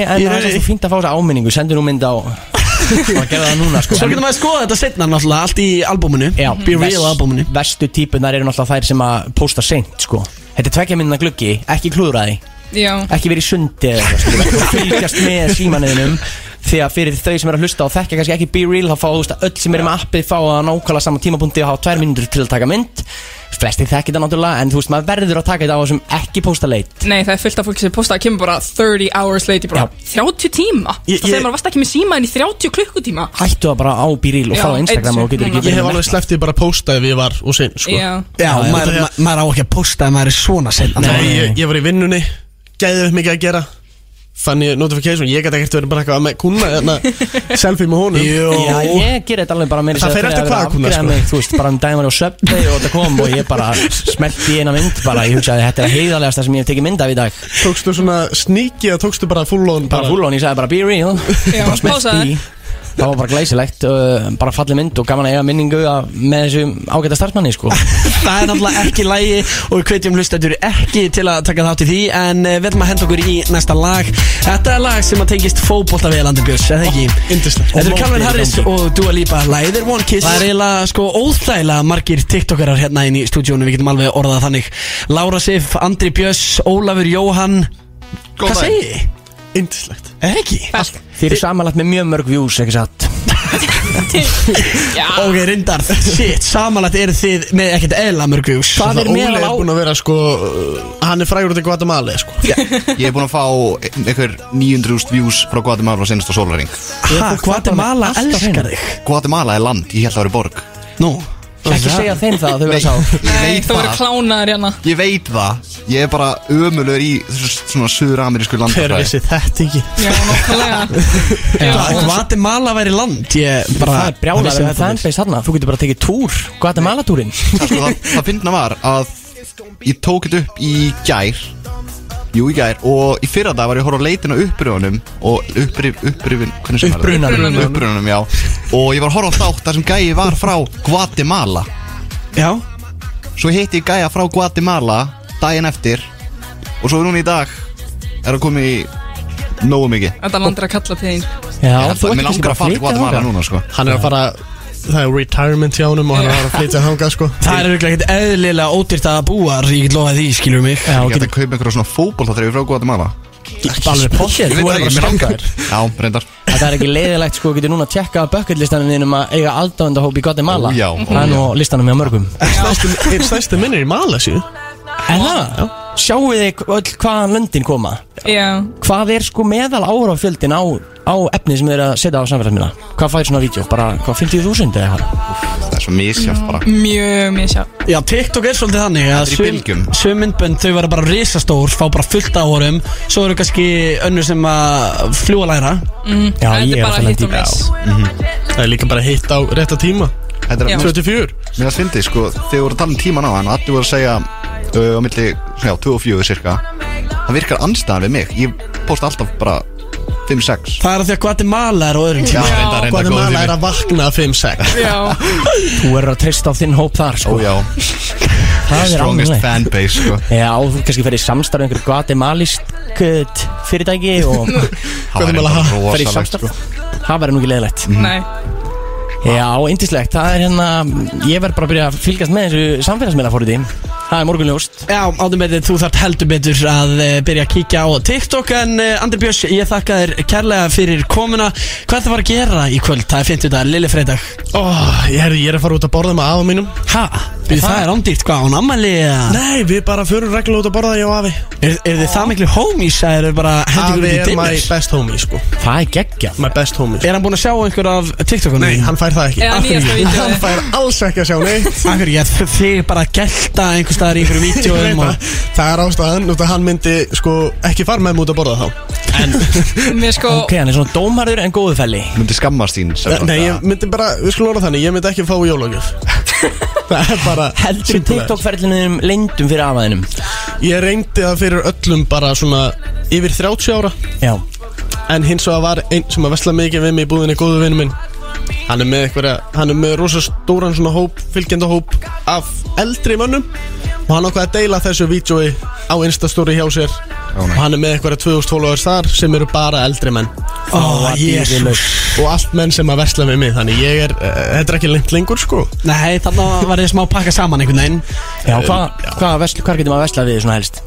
A: í
C: en það er
A: rauninni.
C: svo fínt að fá þessa áminningu, sendu nú mynd á Maður gerði það núna sko
A: Svo getur maður að skoða þetta setna náttúrulega allt í albúminu
C: Já,
A: Be Real albúminu
C: Mhm. Verstu típunar eru náttúrulega þær sem að posta seint sko Þetta er tvekja minna gluggi, ekki klúðraði
B: Já,
C: Ekki verið í sundi eða eitthvað skilur við, og Fylgjast með símaneðinum Því að fyrir þau sem eru að hlusta og þekkja kannski ekki Be Real Þá fá þú veist að öll sem eru með appið fá að nákvæmlega saman tímapunkti Og hafa tvær mínútur til að taka mynd flesti þekkir það náttúrulega En þú veist, maður verður að taka þetta á þessum ekki posta leit
B: Nei, það er fullt af fólki sem postaði að kemur bara 30 hours late í bara 30 tíma
D: Ég-
B: Það segir
D: ég-
B: maður varst ekki með símaðin í 30 klukkutíma
C: Hættu það bara á bíríl og
B: Já,
C: fara á Instagram
B: einn
C: og getur
B: sekúnd.
C: ekki
D: Ég hef
C: verið
D: alveg
C: með-
D: sleppt í bara að posta ef ég var og sinn sko.
B: Já,
A: Já,
D: Já,
A: maður,
D: þetta
A: ma maður á ekki að posta ef maður er svona sinn
D: Nei, ég, ég var í vinnunni Gæðið mikið að gera Fann ég notification Ég gæti ekkert verið bara eitthvað með kuna Þarna hérna selfie með honum Jó
C: Já, ég ger þetta alveg bara meira
D: Það
C: að segja
D: fer
C: þegar
D: eftir
C: ég
D: hvað
C: var að
D: kúnna,
C: afgreiða
D: sko.
C: mig, Þú veist, bara um dæmar og söpvei og þetta kom Og ég bara smelti í eina mynd bara Ég hugsaði, þetta er heiðarlegasta sem ég hef tekið mynd af í dag
D: Tókstu svona sneaky eða tókstu bara full on
C: Bara fullon, ég sagði bara be real
B: Já,
C: Bara smelti
B: pásaði.
C: í. Það var bara glæsilegt, uh, bara fallið mynd og gaman að eiga minningu að, með þessum ágæta starfsmanni sko
A: Það er náttúrulega ekki lægi og við hvetjum hlustendur ekki til að taka þátt í því En eh, við ætlum að henda okkur í næsta lag Þetta er lag sem að tengist fótbolta við Elandi Björns, eða ekki?
D: Indislegt
A: Þetta eru Calvin Harris og Dua Lipa Læðir One Kiss Það er eiginlega sko óþægilega margir tiktokarar hérna inn í stúdíónu Við getum alveg orðað það þannig Lára Sif, Andri Björns, Ólafur Jóhann Hvað segir þið?
D: Indislegt
A: Er það ekki?
B: best
C: Þið eru samanlagt með mjög mörg views, ekki satt
B: Já,
A: Ok, reyndar, shit, samanlagt eru þið með ekkert eðla mörg views
C: Hvað er
D: Óli
C: meðal
D: er
C: á...
D: búin að vera sko uh, Hann er frægur út í Guatemala sko.
G: Ég hef búin að fá einhver 900.000 views frá Guatemala á senasta sólaring
A: Ha, Guatemala
C: Alltaf
A: elskar
C: hreinu.
A: þig
G: Guatemala er land, ég held að það eru borg
A: Nú,
C: Ekki segja þeim það að þau vera sá
G: Nei,
B: nei, þú verður klánaður hérna
G: Ég veit það, ég er bara ömulur í þessu svona suður-amerísku
D: Hver
G: landafræði
D: vissi þetta ekki
B: Já, nákvæmlega
A: Hva- Guatemala væri land Ég bara
C: Það er brjálæður
A: vissi
C: með
A: þetta ekki.
C: um fanbase þarna Þú getur bara að tekið túr Guatemala-túrin
G: Það, sko, það, það finna var að ég tók þetta upp í gær Jú, í gær Og í fyrra dag var ég að horfa á leitin á uppröfunum Og upprif, upprifin, hvernig sem
C: Upprunanum.
G: það? Upprunanum, já Og ég var að horfa á þátt þar sem gæi var frá Guatemala
A: Já,
G: Svo hitti ég gæja frá Guatemala daginn eftir Og svo núna í dag er að koma í nógu mikið
B: Þetta landir að kalla til þín
C: Já,
G: Ég ætla- Mér langar að fara til Guatemala núna sko
D: Hann er að fara Það er retirement hjá honum Og hann er að fara að flytja þangað sko
A: það er auðvitað ekkert eðlilega ódýrt að búa þar, Ég get lofað því, skilur mig
C: Já,
G: Ég
C: getur
G: ætla að kaupa einhverja svona fótboltatreyfi frá Guatemala
C: ekki alveg potið
G: Ég
C: Þú er
G: veit það
C: bara
G: ekki, mér
C: skangaður
G: langar Já, reyndar
C: Það er ekki leiðilegt sko Getur núna að tjekka bucketlistanum þínum að eiga aldáðundahóp í Guatemala
G: Ó, já, ó,
C: Það er nú listanum hjá mörgum
D: Stærsti- Einn stærsti minn er í Malasíu
C: En það, sjáu þið öll hvaðan löndin koma
B: Já,
C: Hvað er sko meðal árafjöldin á, á efni sem þið eru að setja á samfélagsmiðla? Hvað fær svona vídeo? Bara hvað 50.000 eða eitthvað?
G: Það er svo misjátt bara
B: mjög mjög sjá
A: Já, TikTok er svolítið þannig að
G: er í bylgjum.
A: sum- Sum myndbönd þau verða bara risastór Fá bara fullt á árum Svo eru kannski önnur sem að fljúa læra
C: Já,
B: Þetta
C: ég
B: er
C: er
B: bara
C: alltaf
B: hitt og
C: lendið
B: miss
D: Það er líka bara hitt á rétta tíma
G: Þetta
B: Já.
G: er,
D: 24
G: mér að fyndi sko Þegar við vorum að tala um tíman á hann Allir voru að segja uh, á milli, já, 2 og 4 cirka Það virkar anstæðan við mig Ég posta alltaf bara 5-6
A: Það er að því að Guatemala er á öðrum
G: Já,
A: tíma
G: reyndar, reyndar, góður
D: Guatemala er
G: tími
D: að vakna 5-6
B: Já,
C: Þú eru að treysta á þinn hóp þar
G: Ó
C: sko
G: já,
C: Það er
G: strongest
C: annað
G: fanbase sko
C: Já, þú kannski ferði samstarf einhver guatemalísk eh, fyrirtæki og
G: Það væri
D: Guatemala,
G: bara
D: ha,
C: ferði
G: rosalegt, sko.
C: samstarf Það verður nú ekki leiðilegt
B: nei
C: Já, indislegt, það er hérna Ég verð bara að byrja að fylgjast með þessu samfélagsmiðla fóruði Það er morgunljóst
A: Já, átum betur, þú þart heldur betur að eh, byrja að kíkja á TikTok En eh, Andri Björs, ég þakka þér kærlega fyrir komuna Hvað er það var að gera í kvöld? Það er 50 dagar, Lilli Freydag
D: Ó, ég er, ég er að fara út að borða með afa mínum
A: Ha? Býðu það er ándýrt, hvað, hún ammali eða?
D: Nei, við bara förum reglulega út að borða ég og afi
A: Er, er þið það miklu homies að eru bara hendur
D: Afi
A: ykkur út
D: er
A: í
D: my
A: dimmer?
D: best homie sko
C: Það er geggja
D: My best homie sko.
A: Er hann búinn að sjá einhver af TikTokunum?
D: Nei, hann fær það ekki
B: Eða nýjasta
D: (laughs) Hann
B: vídeo
D: fær alls ekki að sjá (laughs) neitt
A: Akkur, ég ætla þig bara að gelta einhver staðar í einhverju
D: (laughs) Ég veit
A: vídjóum og...
D: það. Það er ástæðan út að hann myndi sko ekki fara með mig út að borða þá
B: Mér sko
C: Ok, hann er svona dómarður en góðu felli
G: Myndi skammast þín sem
D: Nei, ég myndi bara, við skulum orða þannig Ég myndi ekki fá (laughs) jólagjöf Það er bara
C: Heldur
D: simple as.
C: TikTok-ferlinum leyndum fyrir afaðinum
D: Ég reyndi það fyrir öllum bara svona yfir 30 ára
C: Já,
D: En hins vegar var einn sem að vesla mikið við mig í búðinni góðu vinnu minn Hann er með einhverja, hann er með rosa stóran svona hóp, fylgjenda hóp af eldri mönnum Og hann ákvað að deila þessu vídjói á Instastory hjá sér Og hann er með einhverja 2000 followers þar sem eru bara eldri menn
A: Ó, jésús
D: Og allt menn sem að vesla með mig Þannig ég er, eh, þetta er ekki lengt lengur sko
A: Nei, þarna var ég smá að pakka saman einhvern veginn
C: já, hvað hva, hva, hvar getur maður að vesla við svona helst?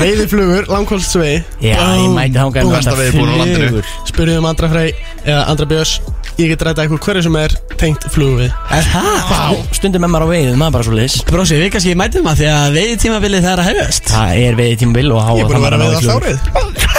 D: Veiðiflugur, langkvöldsvei
C: Já, ég mæti þangað
G: Búm. Besta veiðibúinn á landinu.
D: Spurðum um Andra Frey eða Andra Björns Ég get ræta ykkur hverju sem er tengt flugum við
A: Er það?
C: Stundum er maður á veiðum, maður bara svo liðs
A: Brósi, við kannski mætum að því að veiði tímabilið það er að hefjast
C: Það er veiði tímabil og háa
D: Ég er búin að vera með allt
C: flug.
D: árið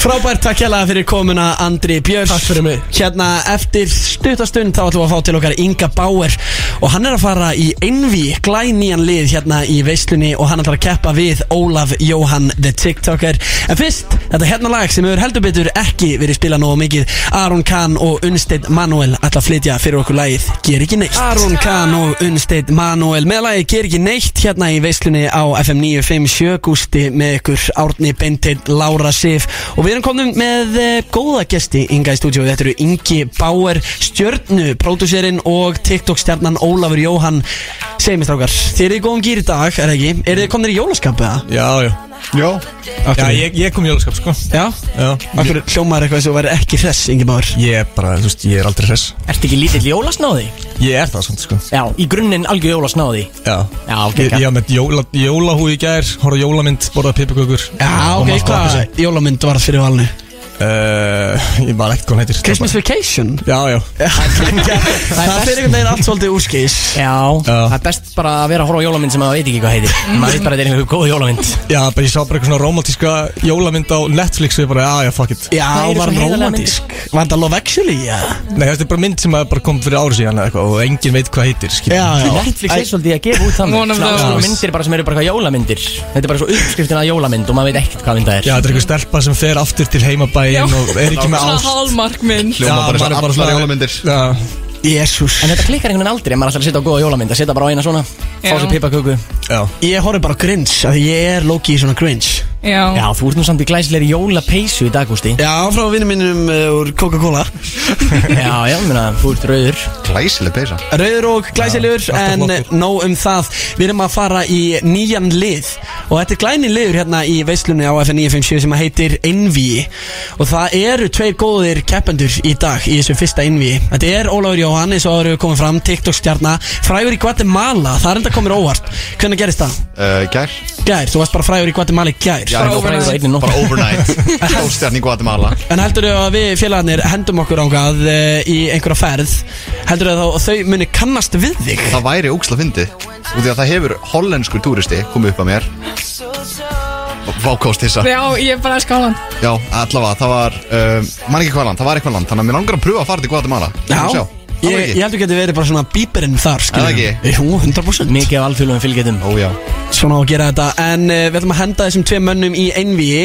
A: Frábært, takk hérlega fyrir komuna Andri Björns
D: Takk fyrir mig.
A: Hérna eftir stuttastund þá ætlum við að fá til okkar Inga Bauer Og hann er að fara í Envi, glænýjan lið hérna í veislunni Og hann ætlar að keppa við Ólaf Jóhann the TikToker En fyrst, þetta hérna lag sem hefur heldur betur ekki verið spilað nógu mikið Aron Kahn og Unstead Manuel ætla að flytja fyrir okkur lagið Ger ekki neitt Aron Kahn og Unstead Manuel með lagið Ger ekki neitt hérna í veislunni á FM 957 Gústi með ykkur Árni Beinteinn, Lára Sif og við erum komin með eh, góða gesti Inga í stúdíu, þetta eru Ingi Bauer stjörnu, pródúserinn og TikTok stjarnan Ólafur Jóhann segjum við strákar, þið eru í góðum gýr í dag er það ekki, eru þið komin í jólaskap eða?
H: Já, já,
G: Já,
H: já ég, ég kom í jólaskap sko
A: Já,
H: Já,
A: okkur hljómaður eitthvað sem væri ekki hress Ingi Bauer
H: ég er bara, þú veist, ég er aldrei hress
C: Ertu ekki lítill jólasnáði?
H: Ég er það samt sko
C: Já, í grunninn algjör jólasnáði
H: Já,
C: Já, ok,
H: ég, ég var með jóla, jólahúi í gær, horfði á jólamynd, borðaði pipikökur
A: Já, ok, hvað jólamynd var fyrir valinu?
H: uh, Ég var ekkert hvað hann heitir
A: Christmas Vacation?
H: Já, já,
A: Það
C: best-
A: fer einhvern veginn allt svolítið úrskis
C: Já, það er best bara að vera að horfa á jólamynd sem maður veit ekki hvað heitir Maður veit bara að þetta er einhver góð jólamynd
H: já, bara ég sá bara eitthvað svona romantíska jólamynd á Netflix og ég bara, já, já, fuck it
A: Já,
C: Það eru
A: var
C: svo
A: hann
C: heiðarlegar
A: romantísk? Var þetta Love Actually? Já,
H: Nei, þetta er bara mynd sem að bara kom fyrir ári síðan eða eitthvað og enginn veit hvað heitir, skilur
A: já, já.
C: Netflix er svolítið að gefa út þannig
B: One of
C: Svona
B: those.
C: svona myndir bara sem eru bara eitthvað jólamyndir Þetta er bara svo uppskriftin að jólamynd og maður veit ekkert hvað mynda er
H: Já, þetta er eitthvað stelpa sem fer aftur til heimabæin og er ekki með
B: Svona
H: ást
B: hallmark minn
H: Já,
G: hljóma
H: maður
G: bara þess
H: er
G: að allar
H: svona-
G: jólamyndir
H: Já,
A: Jésús
C: En þetta klikkar einhvern veginn aldrei ef maður ætlar að setja á góða jólamynd að setja bara á eina svona, fá
B: Já.
C: sér pipaköku
H: já
A: Ég horfði bara á Grinch af Því ég er Loki í svona Grinch
C: Já,
B: Já,
C: þú ert nú samt í glæsilegri jólapeysu í dag, Gústi
A: Já, frá vinnum mínum uh, úr (laughs) Coca-Cola
C: Já, já, ég meina, þú ert rauður
G: Glæsileg peysa
A: Rauður og glæsilegur
H: Já, alltaf
A: En
H: flottur.
A: nóg um það Við erum að fara í nýjan lið Og þetta er glæni liður hérna í veislunni á FN957 Sem að heitir Enví Og það eru tveir góðir keppendur í dag Í þessum fyrsta Enví Þetta er Ólafur Jóhann eins og áður hefur komið fram TikTok stjarnar Frægur í Guatemala Það er enda komir óvart Hvernig gerist það?
G: uh, Gær
A: Gær, þú varst bara frægur í Guatemala í gær
G: Já,
C: Og frægur á einni nótt
G: bara overnight Stjórn í Guatemala
A: En heldur þau að við félagarnir hendum okkur ángað í einhverja ferð Heldur þau að þau muni kannast við þig?
G: Það væri óksla fyndið Út í að það hefur hollenskur túristi komið upp að mér Vákost hissa
B: já ég er bara að skálan
G: Já, allavega, það var um, Man ekki hvað land, það var eitthvað land Þannig að mér langar að pröfa að fara til Guatemala
A: Já, ég, ég
G: Ég,
A: heldur getur verið bara svona bíperinn þar skilur
G: Er það
A: við. Jú, 100%
C: Mikið af alþjóðlegum fylgjöldum
G: Ó, já
A: Svona á að gera þetta En uh, við ætlum að henda þessum tveim mönnum í einvíi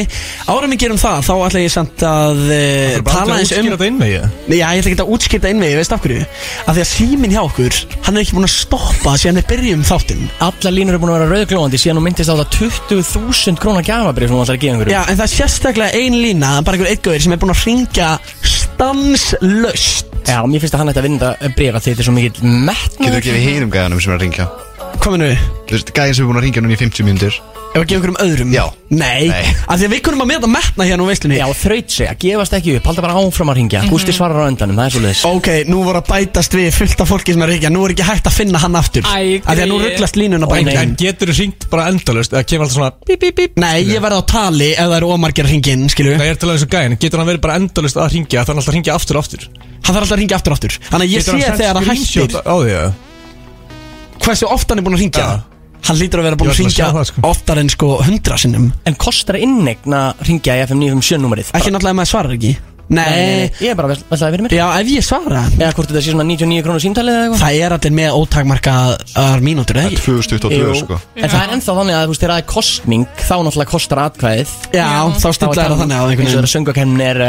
A: Árum við gerum það, þá ætla ég samt að uh, tala eins um
H: Það er bara aldrei að útskýra þetta inn með ég
A: Nei, Já, ég ætla ekki að útskipta einvíi, veist af hverju Af því að síminn hjá okkur, hann er ekki búin að stoppa Síðan við byrjum þáttinn
C: Allar línur eru búin að vera rauðglóðandi síðan hún myndist á það 20.000 krónar gjafabrif sem hún ætlar að gefa einhverju
A: Já, en það er sérstaklega ein lína Bara einhver eitthvað sem er búin að hringja stanslaust
C: Já, mér finnst að hann ætti að vinna bref að þetta er svo mikill metnað
G: Getur ekki við hinum gæðanum sem er að ringja
A: Kominu,
G: Þú veist, gæðin sem er búin að ringja núna í 50 mínútur
A: ef að gefa einhverjum öðrum
G: Já.
A: Nei,
G: Nei.
A: af því að við kunum að meta metna hérna úr veislunni
C: Já, þraut segja, gefast ekki upp, halda bara áfram að ringja Gústi svarar á endanum, það er svolítið
A: Ok, nú voru að bætast við fullt af fólki sem er ekki Nú er ekki hægt að finna hann aftur
B: Æ,
A: Af því að nú
B: greyið.
A: rugglast línuna bara
C: Ó, nei.
A: einhvern
H: En getur þú ringt bara endalaust eða kemur alltaf svona bíp, bíp, bíp
A: Nei, ég verði á tali ef það eru ómargir að ringja inn, skilju
H: Nei, ég er til að þessu gæðin Getur hann verið bara endalaust að ringja Þannig alltaf að ringja aftur og aftur
A: Hann þarf alltaf að ringja aftur og aftur Þannig að ég
H: Getur hann
A: sé
H: sent
A: þegar hann
H: screenshot
A: hættir
H: Á því að
A: Hversu oft hann er búin að ringja
H: Ja.
A: Hann lítur að vera búin
H: Ég ætla að
A: að ringja
H: sjá það, sko.
A: oftar en sko hundra sinnum
C: En kostar innegna ringja í FM 957 númerið Eh,
A: Ekki náttúrulega ef maður svarar ekki Nei,
C: Ég er bara að velta það fyrir mér
A: já ef ég svara
C: Eða hvort þetta sé svona 99 krónu símtalið eða eitthvað
A: Það er allir með ótagmarkaðar mínútur, eða ekki?
G: 2022,
C: Jú.
G: sko
C: En það er ennþá þannig að þú veist, þegar það er kostning Þá náttúrulega kostar atkvæðið
A: Já, þá stillar það þannig á einhvern
C: Eins og
A: veginn
C: þeirra söngakemnir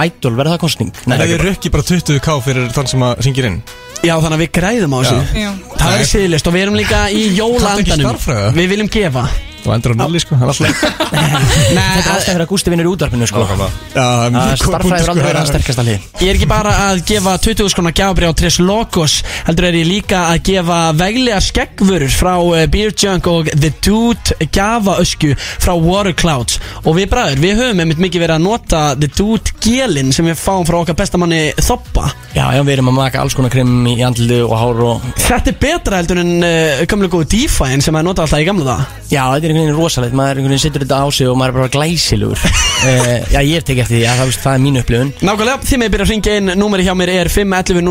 C: Ædol, verður það kostning? Nei,
H: Nei,
C: það
H: ég
C: er
H: rökki bara 20k fyrir þann sem að ringir inn
A: Já, þannig að við græðum á þessu
B: Já.
A: Það er siðlist og við erum líka í jólaandanum
H: stærðfræði?
A: Við viljum gefa
H: Þú endur á nulli, sko Það er (laughs) alltaf
A: Nei,
C: alltaf fyrir að Gústi vinnur í útvarpinu sko
H: Já, það er
C: Að
H: mjög góð punktur,
C: Starfræði er
H: sko,
C: aldrei verið að
H: það er-
C: sterkast að hlið
A: Ég er ekki bara að gefa 20 skrona gjafabri á Tres Logos heldur er ég líka að gefa veglegar skeggvörur frá eh, Beer Junk og The Dude gjafaösku frá Water Clouds og við bræður, við höfum einmitt mikið verið að nota The Dude gelin sem við fáum frá okkar bestamanni Þoppa
C: Já, já, við erum að maka alls konar krim í andlu og hár og
A: Þetta er betra heldur en uh, gamla góðu Define sem maður nota alltaf í gamla það
C: Já, þetta er einhvern veginn rosalegt, maður einhvern veginn setur þetta á sig og maður er bara glæsilegur uh, Já, ég hef tekið eftir því, já, það, veist, það er mín upplifun
A: Nákvæmlega, þið með byrja að ringja inn Númeri hjá mér er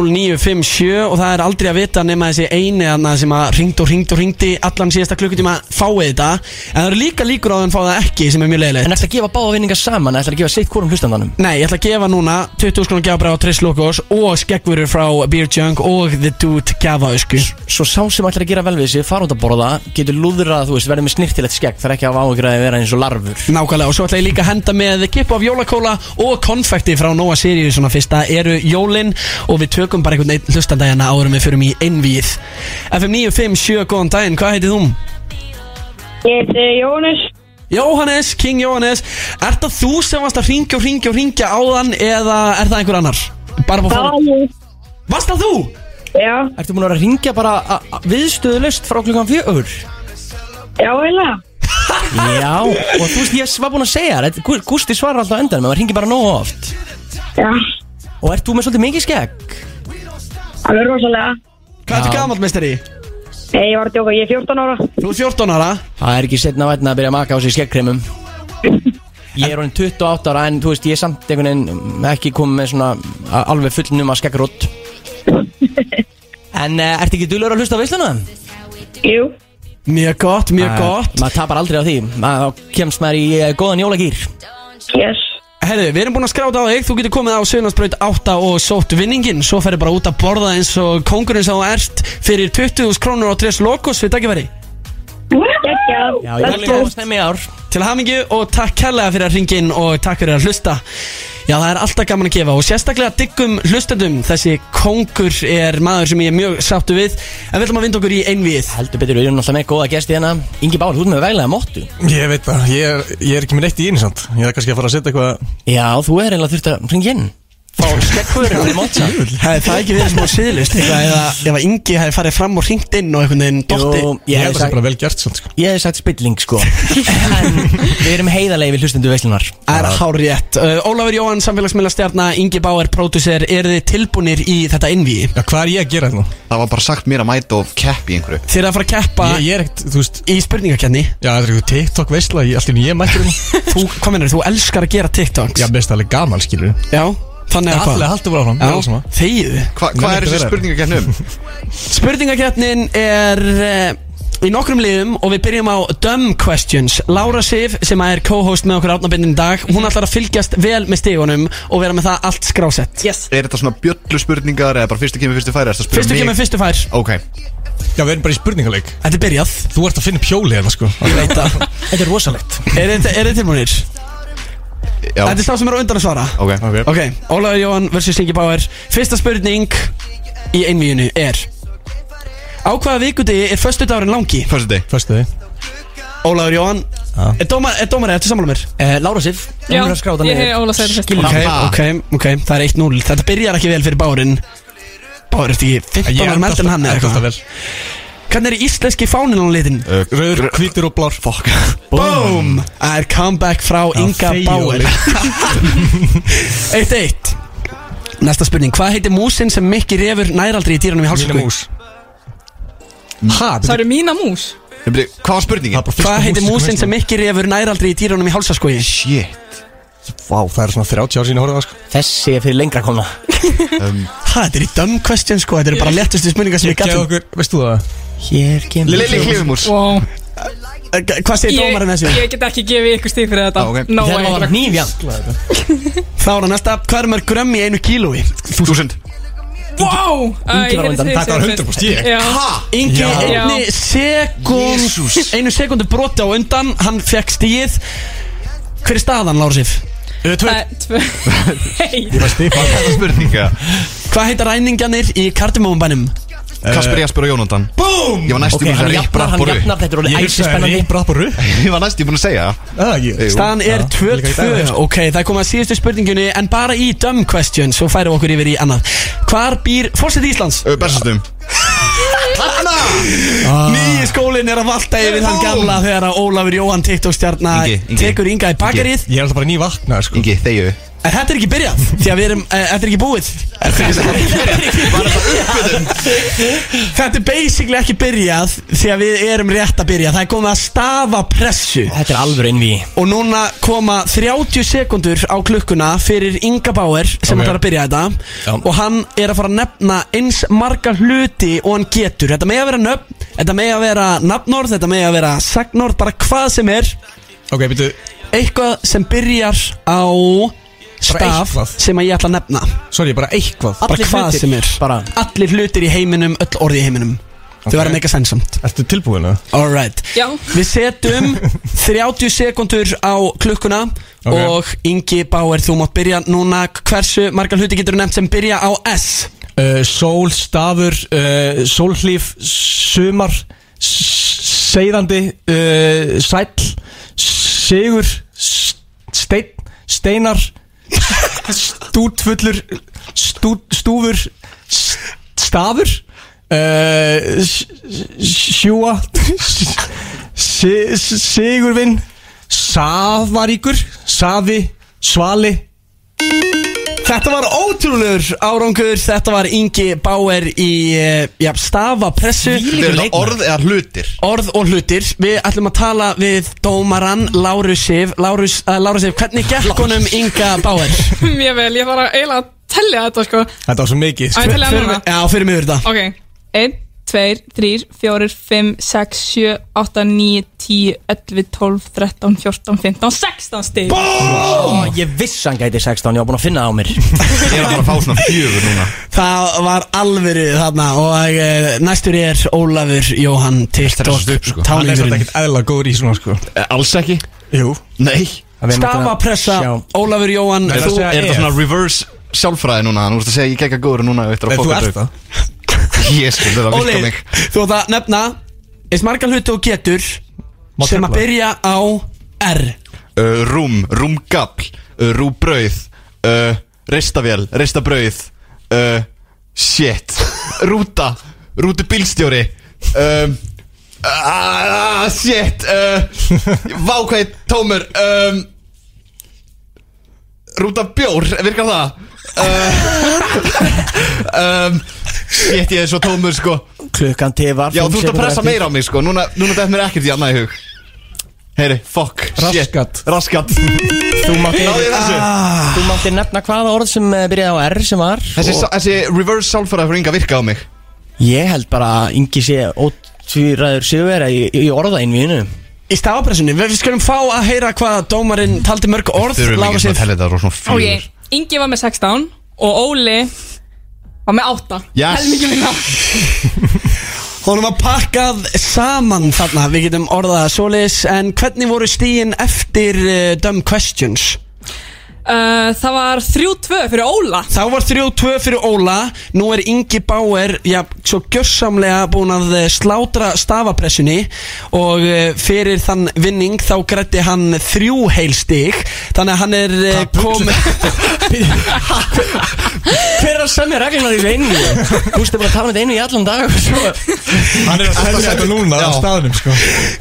A: 511-0957 Og það er aldrei að vita nema þessi eini þarna sem að ringd og ringd og ringdi Allan síðasta klukkutíma fáið þetta En það eru líka líkur á að hann fá það ekki sem er mjög leiðilegt
C: En ætla að gefa báða vinningar saman, ætla að gefa sitt hvorum hlustandanum
A: Nei, ég ætla að gefa núna 20 skrónu gjafabræð á Triss Logos og skeggvörur frá Beer Junk og The Dude gjafaösku
C: Svo sá sem ætlar að gera vel við sig, fara út að borða, getur lúðrað, þú veist, verður með snirtilegt skegg Það er ekki að áhugra að vera eins og larfur
A: Nákvæmlega, og svo ætla ég líka að henda með kippu af jólakóla og konfekti frá Nóa Sirius svona fyrst það eru jólin og við tökum bara einhvern einn hlustandagina árum við förum í innvíð FM 957, góðan daginn, hvað heitið þú?
I: Ég heiti Jónus.
A: Jóhannes, King Jóhannes Er það þú sem varst að ringja og ringja og ringja áðan eða er það einhver annar? Bara búið
I: Það
A: að
I: var ég.
A: fá Varst það þú?
I: Já,
C: Ertu búin að vera að ringja bara a- a- viðstöðulaust frá klukkan fjögur?
I: já, eiginlega.
C: Já, og þú veist, ég var búin að segja þér, þetta- Gú- Gústi svarar alltaf á endanum, en maður ringir bara nógu oft
I: Já,
C: Og ert þú með svolítið mikið skegg?
I: það er rosalega.
A: Hvað ertu
C: Já.
A: gamall, meistari?
I: Nei, ég var að djóka, ég er 14 ára.
A: Þú er 14 ára
C: Það er ekki setna vætna að byrja að maka á sig (laughs) skeggkremum Ég er orðin 28 ára en þú veist ég er samt einhvern veginn ekki komið með svona a- alveg fullnum að skeggrótt En uh, ertu ekki dulur að hlusta á veisluna? Eh,
I: Jú,
A: Mjög gott, mjög gott
C: Maður tapar aldrei á því, maður þá kemst maður í uh, góðan jólagýr
I: yes.
A: Herðu, við erum búin að skráta á þig, þú getur komið á Suðlandsbraut 8 og sótt vinningin Svo ferðu bara út að borða eins og kongurinn sem þú ert Fyrir 20.000 krónur á 3 lokos við dagifæri
I: Gekja.
C: Já, ég er góð stemmi í ár
A: Til hamingju og takk kærlega fyrir að ringa inn og takk fyrir að hlusta Já, það er alltaf gaman að gefa og sérstaklega diggum hlustendum Þessi kongur er maður sem ég er mjög sáttu við En við ætlum að vinda okkur í einvið
C: Heldur betur, við erum náttúrulega með góða gesti hérna Ingi Bál, þú ert með veglega móttu
H: Ég veit það, ég er, ég er ekki með neitt í einu samt Ég er kannski að fara að setja eitthvað
C: Já, þú er eiginlega þurft að ringa inn Fá skeggkur og mótsa
A: Hefði það ekki verið smá siðlust eitthvað eða ef að Ingi hefði farið fram og ringt inn og einhvern veginn dotti
C: Jú,
H: Ég
C: ég
H: held að
C: hef
H: það
C: sagt
H: sé bara vel gert samt sko.
C: Ég hef sagt spilling (laughs) sko En við erum heiðarlegi við hlustendu veislunar
A: Það er hár rétt uh, Ólafur Jóhann, samfélagsmiðlastjarnar, Ingi Bauer, pródusser Eru þið tilbúnir í þetta innvíi?
H: Já, hvað er ég að gera hérna? þetta nú?
G: Það var bara sagt mér að mæta og keppi í einhverju
A: Þið eru að fara að keppa
H: Ég, ég er ekkert, þú veist
A: í spurningakenni
H: Já, þetta er eitthvað TikTok veistla Allt í nýja ég mættur hérna (laughs)
A: Þú, hvað mennur, þú elskar að gera TikToks
H: Já, best alveg gaman, skilur við
A: Já, þannig að
H: Allir
A: hvað?
H: haldur bara áfram, mér er alls sama.
A: Já, þegiðu
G: Hva,
H: Menn
G: Hvað er
H: ekki
G: þessi
H: vera.
G: spurningakenn um?
A: Spurningakennin er uh, í nokkrum liðum og við byrjum á Dumb Questions Lára Sif, sem er co-host með okkur átnabindin í dag Hún ætlar að fylgjast vel með stigunum og vera með það allt skrásett
B: Yes.
G: Er þetta svona bjöllu spurningar eða bara fyrstu kemur fyrstu færi? ertu að spyrja
A: Fyrstu
G: mig?
A: kemur, fyrstu fær
G: Ok,
H: Já, við erum bara í spurningaleik
A: Þetta er byrjað
H: Þú ert að finna pjóli hérna, sko
A: Ég veit það
C: Þetta er rosalegt
A: Er þið- er þið tilbúinir?
G: já,
A: Þetta er sá sem er á undan að svara
G: ok
A: Ok, Ólaður Jóhann vs. Ingi Bauer Fyrsta spurning í einvíjunu er Á hvaða vikudegi er föstudagurinn langi?
G: Fyrstu deg
H: Föstu þið
A: Ólaður Jóhann
H: Já.
A: Er dómar, er dómar, ertu sammála mér?
C: uh, Lára Sif, hún
B: Já,
C: er að skráta
B: ég hef
C: niður
B: Óla segir fyrst
G: Skil-
A: Ok,
G: Ha.
A: ok, ok, það er 1-0 Þetta byrjar ekki vel fyrir Báurinn Báur, ertu ekki 15 ára meldin hann eða
H: alltaf
A: eitthvað?
H: vel
A: Hvernig er íslenski fáninn á litin?
G: Eh,
H: Rauður, hvítur og blár Fokk
A: Boom! Það er comeback frá Inga
H: þegi,
A: Báur (laughs)
H: Óli.
A: 1-1 Næsta spurning, hvað heitir músin sem Mikki refur næraldri í dýranum í
H: Mínu
A: hálsöku?
H: mús Ha,
B: Það eru mína mús
G: Hvað var spurningin?
A: Hvað heitir músin sem um. Mikki refur næraldri í dýranum í hálsaskogi?
G: Shit
H: Vá, það er svona 30 ár sín að horfa á það, sko
C: Þessi er fyrir lengra komna
A: Ha, þetta er í dumb question sko, þetta eru bara lettustu spurningar sem ég um.
H: Gæði
A: gæti
H: okkur, veist þú það?
C: Hér kemur
G: Lili Klifumús
B: wow.
A: Eh, Hvað segir
B: ég,
A: dómarinn þessu?
B: ég get ekki gefið ykkur stíð fyrir þetta
G: Ah, ok.
B: no
C: Þegar var
B: way.
C: nýfja
A: Þá er það næsta, hvað er mörg grömm í einu kílói?
G: Þúsund
B: Wow Æ,
C: Ingi var á
B: ég heyrði
C: undan.
B: þig
H: Þetta var
B: segja
H: 100%
B: fyrst.
H: ég.
B: Já.
A: Ingi
H: Já.
A: einni sekund
G: Jesús.
A: Einu sekundu broti á undan Hann fekk stíð Hver er staðan, Lársif?
B: Það er tvö Hey.
H: Ég var stipa
G: Hvað var spurninga?
A: Hvað heita ræningjanir í kardimóumbænum?
G: Kasper Jasper og Jónandan Búm Ég var næstu
C: Ok,
G: búin að
C: hann
G: segja
C: jafnar,
G: ripprapp
C: hann
G: og rupp
C: jafnar Þetta
H: Ég
C: er orðið
H: hugsaði
C: æsispennandi
H: rip, rapp og rupp.
G: (laughs) Ég var næstu búin að segja það.
H: Ah, ég-
G: Jú.
A: Staðan er
H: Já. Líka í dag,
A: 2-2
H: sko.
A: Ok, það er komið að síðustu spurningunni En bara í dumb question Svo færum við okkur yfir í annað Hvar býr fórsetið Íslands?
G: Ö, Bessastum
H: Ah.
A: Nýji skóli sólinn er að valta yfir hann gamla þegar að Ólafur Jóhann TikTok-stjarnar
G: Ingi, Ingi.
A: tekur Inga í bakkarið
H: Ég er alltaf bara nývaknað sko
G: Ingi, þegju
A: En þetta er ekki byrjað, því að við erum, eh, þetta er ekki búið Þetta er basically ekki byrjað, því að við erum rétt að byrja Það er komið að stafa pressu
C: Þetta er alvöru innví
A: Og núna koma 30 sekundur á klukkuna fyrir Inga Bauer sem
H: Ok.
A: ætlar að byrja þetta
H: Já.
A: og hann er að fara að nefna eins marga hluti og hann getur Þetta megi að vera nöfn, þetta megi að vera nafnorð, þetta megi að vera sagnorð, bara hvað sem er
H: Ok, býtu
A: Eitthvað sem byrjar á staf
H: eitthvað.
A: sem að ég ætla að nefna
H: Sorry, bara eitthvað
A: Bara
C: Allir
A: hvað
C: hlutir,
A: sem er
C: bara.
A: Allir hlutir í heiminum, öll orði í heiminum Þau
H: Ok.
A: verða mega sensamt
H: Ertu tilbúin að?
A: Alright
B: Já, (laughs)
A: Við setjum (laughs) 30 sekundur á klukkuna
H: Ok.
A: Og Ingi Bauer, þú mátt byrja núna Hversu margar hluti getur nefnt sem byrja á S
H: Uh, sól, stafur, uh, sólhlíf, sumar, s- seiðandi, uh, sæll, sigur, s- steinn, steinar, stútfullur, stú, stúfur, s- stafur,
A: Eh,
H: uh, s- s-
A: (laughs)
H: sjúa, s- si- sigurvinn, safaríkur, safi, svali,
A: Þetta var ótrúlegur árangur Þetta var Ingi Bauer í eh, já, stafapressu
G: Þau eru það orð eða hlutir
A: Orð og hlutir Við ætlum að tala við dómaran Lárus Sif Lárus, uh, Lárus Sif, hvernig gekk honum Inga Bauer?
B: mjög vel, ég þarf að eiginlega að tellja þetta sko Á,
H: þetta var svo mikið sko.
B: ég tellja það
A: Fyrir,
B: núna
A: já, fyrir mig yfir þetta
B: Ok, 1, 2, 3, 4, 5, 6, 7, 8, 9, 10, 11, 12, 13, 14, 15, 16 stig
C: Ó, Ég viss hann gæti 16, ég var búin Mm. að finna það á mér
G: Ég er að fara að fá svona fjögur núna
A: Það var alvöru þarna og uh, næstur er Ólafur Jóhann TikTok
G: stressast upp,
H: Hann er samt
G: sko.
A: táningurinn
H: ekkert eðla góður í svona sko
G: Eh, Alls ekki
H: Jú
G: Nei
A: Stafa pressa, Ólafur Jóhann
H: Nei,
A: þú,
H: það
G: Er
H: Ef.
G: þetta svona reverse sjálfræði núna Nú veist að segja ég gekk að góður núna eftir
H: Nei,
G: að
H: þú
G: fokka
H: ert
G: upp.
H: það
G: Ég skil þetta
A: Óli,
G: virka mig
A: þú átt að nefna eins marga hluti og getur
H: Má
A: sem að
H: trufla.
A: byrja á R
G: Uh, Rúm, rúmgafl uh, Rúbrauð uh, Ristavél, ristabrauð uh, Shit Rúta, rútubílstjóri um, uh, Shit uh, Vákvæði tómur um, Rúta bjór, virkar það? Uh, (laughs) um, shit, ég er svo tómur sko
C: Klukkan tifar
G: Já,
C: fimm
G: þú ert að
C: sekúndur
G: pressa
C: eftir.
G: meira á mig sko Núna, núna dætt mér ekkert í annað í hug Heyri, fuck shit.
H: Raskat.
G: Raskat
C: Þú mátti,
G: Náðu ég þessu?
C: þú mátti nefna hvaða orð sem eh, byrjaði á R sem var
G: Þessi,
C: og
G: þessi reverse sálfæra fyrir Inga virka á mig
C: Ég held bara að Ingi sé ótvíraður sigurveri í, í orðainvínu
A: í stafapressunni, við við skulum fá að heyra hvað dómarinn taldi mörg orð Lárus Sif,
G: þetta er svona
B: Og ég, Ingi var með 16 og Óli var með 8
G: Yes.
B: Helmingi minna
A: honum var pakkað saman þarna, við getum orðað svoleiðis, en hvernig voru stíin eftir uh, dumb questions?
B: uh, Það var 3-2 fyrir Óla
A: Þá var 3-2 fyrir Óla Nú er Ingi Bauer já, Svo gjörsamlega búin að eh, slátra stafapressunni Og eh, fyrir þann vinning Þá grætti hann þrjú heilstig Þannig að hann er eh, kom (laughs)
C: Hver er að semja reglunar í reyningu? (laughs) Þú veist bara að tala um þetta einu í allan dag og svo
H: Hann er að
G: Alltaf
H: selja þetta
G: sætur.
H: núna á
G: Já.
H: staðnum sko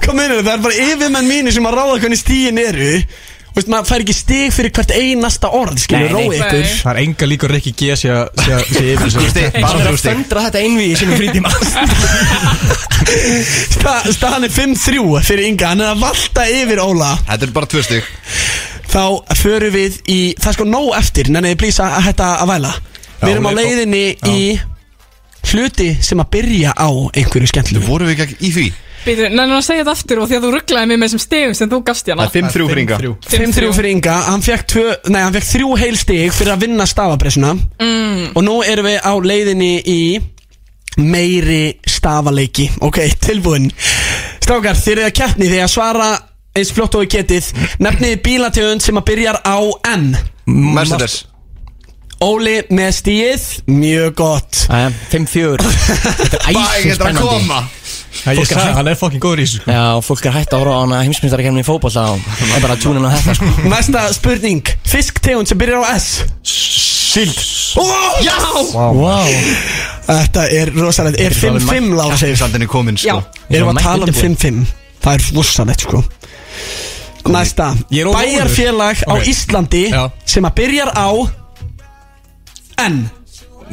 A: Kom inn Það er bara yfirmenn mínir sem að ráða hvernig stíin eru Þú Veist, maður fær ekki stig fyrir hvert einasta orð Skilur
C: Nei, nei.
A: rói ykkur
B: Nei.
H: Það er enga líkur ekki G sé að sé að- sé yfir þessu.
G: Gústi, bara
C: Það er
G: þú
C: að
G: stig
C: föndra þetta einví í sínum frítíma (laughs)
A: Sta, Staðan er 5-3 fyrir Inga Hann er að valta yfir Óla
G: Þetta er bara tvö stig
A: þá förum við í það er sko nóg eftir, nenni ég plýsa að hætta að væla við erum á
H: hún er-
A: leiðinni í hluti sem að byrja á einhverju skemmtlu
G: Vorum við ekki í því?
B: Býtur, nennir að segja þetta aftur og því að þú rugglaði mig með sem stigum sem þú gafst hérna
G: Það er 5-3 fyrir Inga
A: 5-3 fyrir Inga, hann fekk, tvö, nei, hann fekk þrjú heilstig fyrir að vinna stafapressuna mm. og nú erum við á leiðinni í meiri stafaleiki ok, (laughs) tilbúin strákar, þið eru að keppni því að svara eins flott og við getið nefnið bílategund sem að byrjar á N
G: Mercedes
A: Óli með stíð, mjög gott
C: Æja,
G: (laughs)
C: 5-4 Þetta er æsum
G: Bæ, þetta er að
C: spennandi
G: koma
H: Já, Ég sagði, hann er fokkin góður í þessu sko
C: Já, fólk er hægt að horfa á hana heimsmyndarkemni í fótbolla og er bara að tjúna inn á þetta sko
A: Næsta spurning Fisktegund sem byrjar á S
H: S-
G: Sild
J: Yes!
C: Wow
A: Þetta er rosalegt Er 5-5 lág segir svo
G: Saldin er komin sko
A: Erum að
C: mætt
A: tala um
C: undirbúin.
A: 5-5 Það er rosalegt sko Næsta
D: Ég er órólegur.
A: Bæjarfélag á
D: Ok.
A: Íslandi
D: Já.
A: Sem að byrjar á N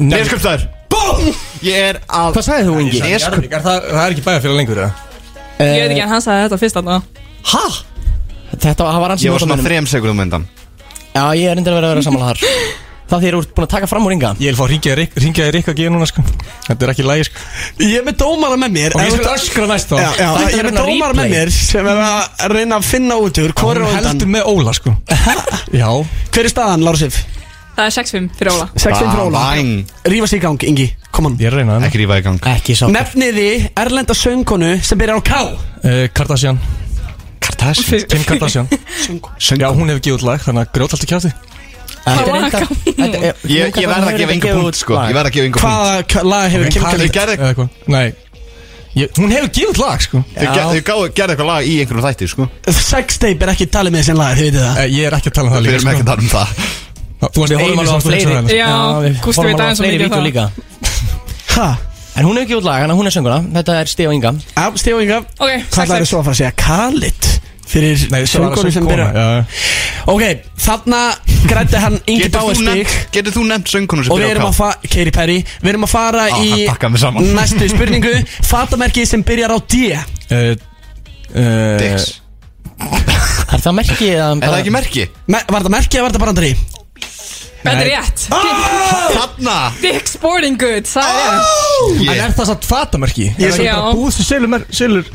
G: Neðskjöpstaður BOOM Ég er að
C: Hvað sagði þú,
D: sko.
C: Ingi?
G: Neðskjöp
D: Jarðvík, er það, það er ekki bæjarfélag lengur eða?
B: Ég veit ekki en hann sagði þetta fyrst alltaf
C: Hæ? Þetta var- það var
G: Ég
C: ansið
G: var svona þrem sekundum undan
C: Já, ég er reyndar að vera að vera
G: (laughs)
C: sammála þar Það þér ert búin að taka fram úr Inga
D: Ég vil fá að ringja í Rik- ringja í Rikka G núna sko Þetta er ekki lægi sko
A: Ég er með dómara með mér
D: Og
A: Ef
D: ég
A: þú-
D: skal öskra næst þá
A: Já, já, ég
C: Það er
A: er með
C: hérna
A: dómara
C: replay.
A: með mér sem er að reyna að finna út úr hvor er á
D: Hún heldur
A: undan
D: með Óla sko Já
A: Hver er staðan, Lárusif?
B: Það er 6-5 fyrir Óla
A: 6-5 fróla
G: Bang.
A: Rífast í gang, Ingi, kom on
D: Ég er að reyna það
G: Ekki rífa í gang
C: Ekki sá
A: Nefniði erlenda söngkonu sem byrjar á K
D: uh, Kardashian
G: Kardashian
D: Kim Kardashian Já,
G: Söngum
D: hún hefur gefið út lag Þannig að grjótalt í kjátti
C: Þetta er reyndar þetta er-
G: Ég, ég verð að gefa yngu punkt sko Ég verð að gefa yngu punkt
A: Hvaða k- lag hefur Kim
G: Hvað þau
A: Kardashian?
G: gerðu
D: Eða eitthvað Nei ég, Hún hefur gefið út lag sko
G: Þau ger- þau gáfu- gerðu eitthvað lag í einhverjum þætti sko
A: Sex tape er ekki talið með þessi lag, þið vitið það
D: Eh, Ég er ekki að tala um það
G: Við
D: líka
G: erum ekki að
D: sko.
G: tala um það
D: Þú varst
C: Við horfum alveg á
D: einu sem þú
C: fleiri
D: hugsaði
B: Já, Gústi veit aðeins
C: á
B: of
C: fleiri
B: mikið um
C: vídeo
B: það.
C: líka
A: Ha?
C: En hún hefur ekki út lag, en hún er sönguna Þetta er Stíð og Inga
A: Já, Stíf og Inga
B: Ok,
A: Hvað er
B: 6-6
A: svo að fara að segja? Kalit Fyrir
D: Nei, svo var það
A: söngkonu sem
D: söngkona,
A: byrjar
D: já.
A: Ok, þarna grætti hann Ingi
G: Getur
A: Báir
G: þú
A: stík
G: nefnt- Getur þú nefnt söngunum sem
A: Og við
G: byrjar
A: erum að
G: á K?
A: fara, Katy Perry Við erum að fara
G: Á,
A: í
G: hann pakkaði mig saman.
A: næstu
G: (laughs)
A: spurningu Fatamerkið sem byrjar á D Er
D: Eh, eh,
G: Dicks
C: Er það merkið að
G: Er það ekki merki?
A: Var það merkið eða var það bara andri?
B: Þetta er rétt
G: Þarna
B: Dick Sporting Goods, það er
G: Ah!
B: rétt
D: En er það satt fatamerki? Er það
B: Já.
D: ekki bara búðstu selur, selur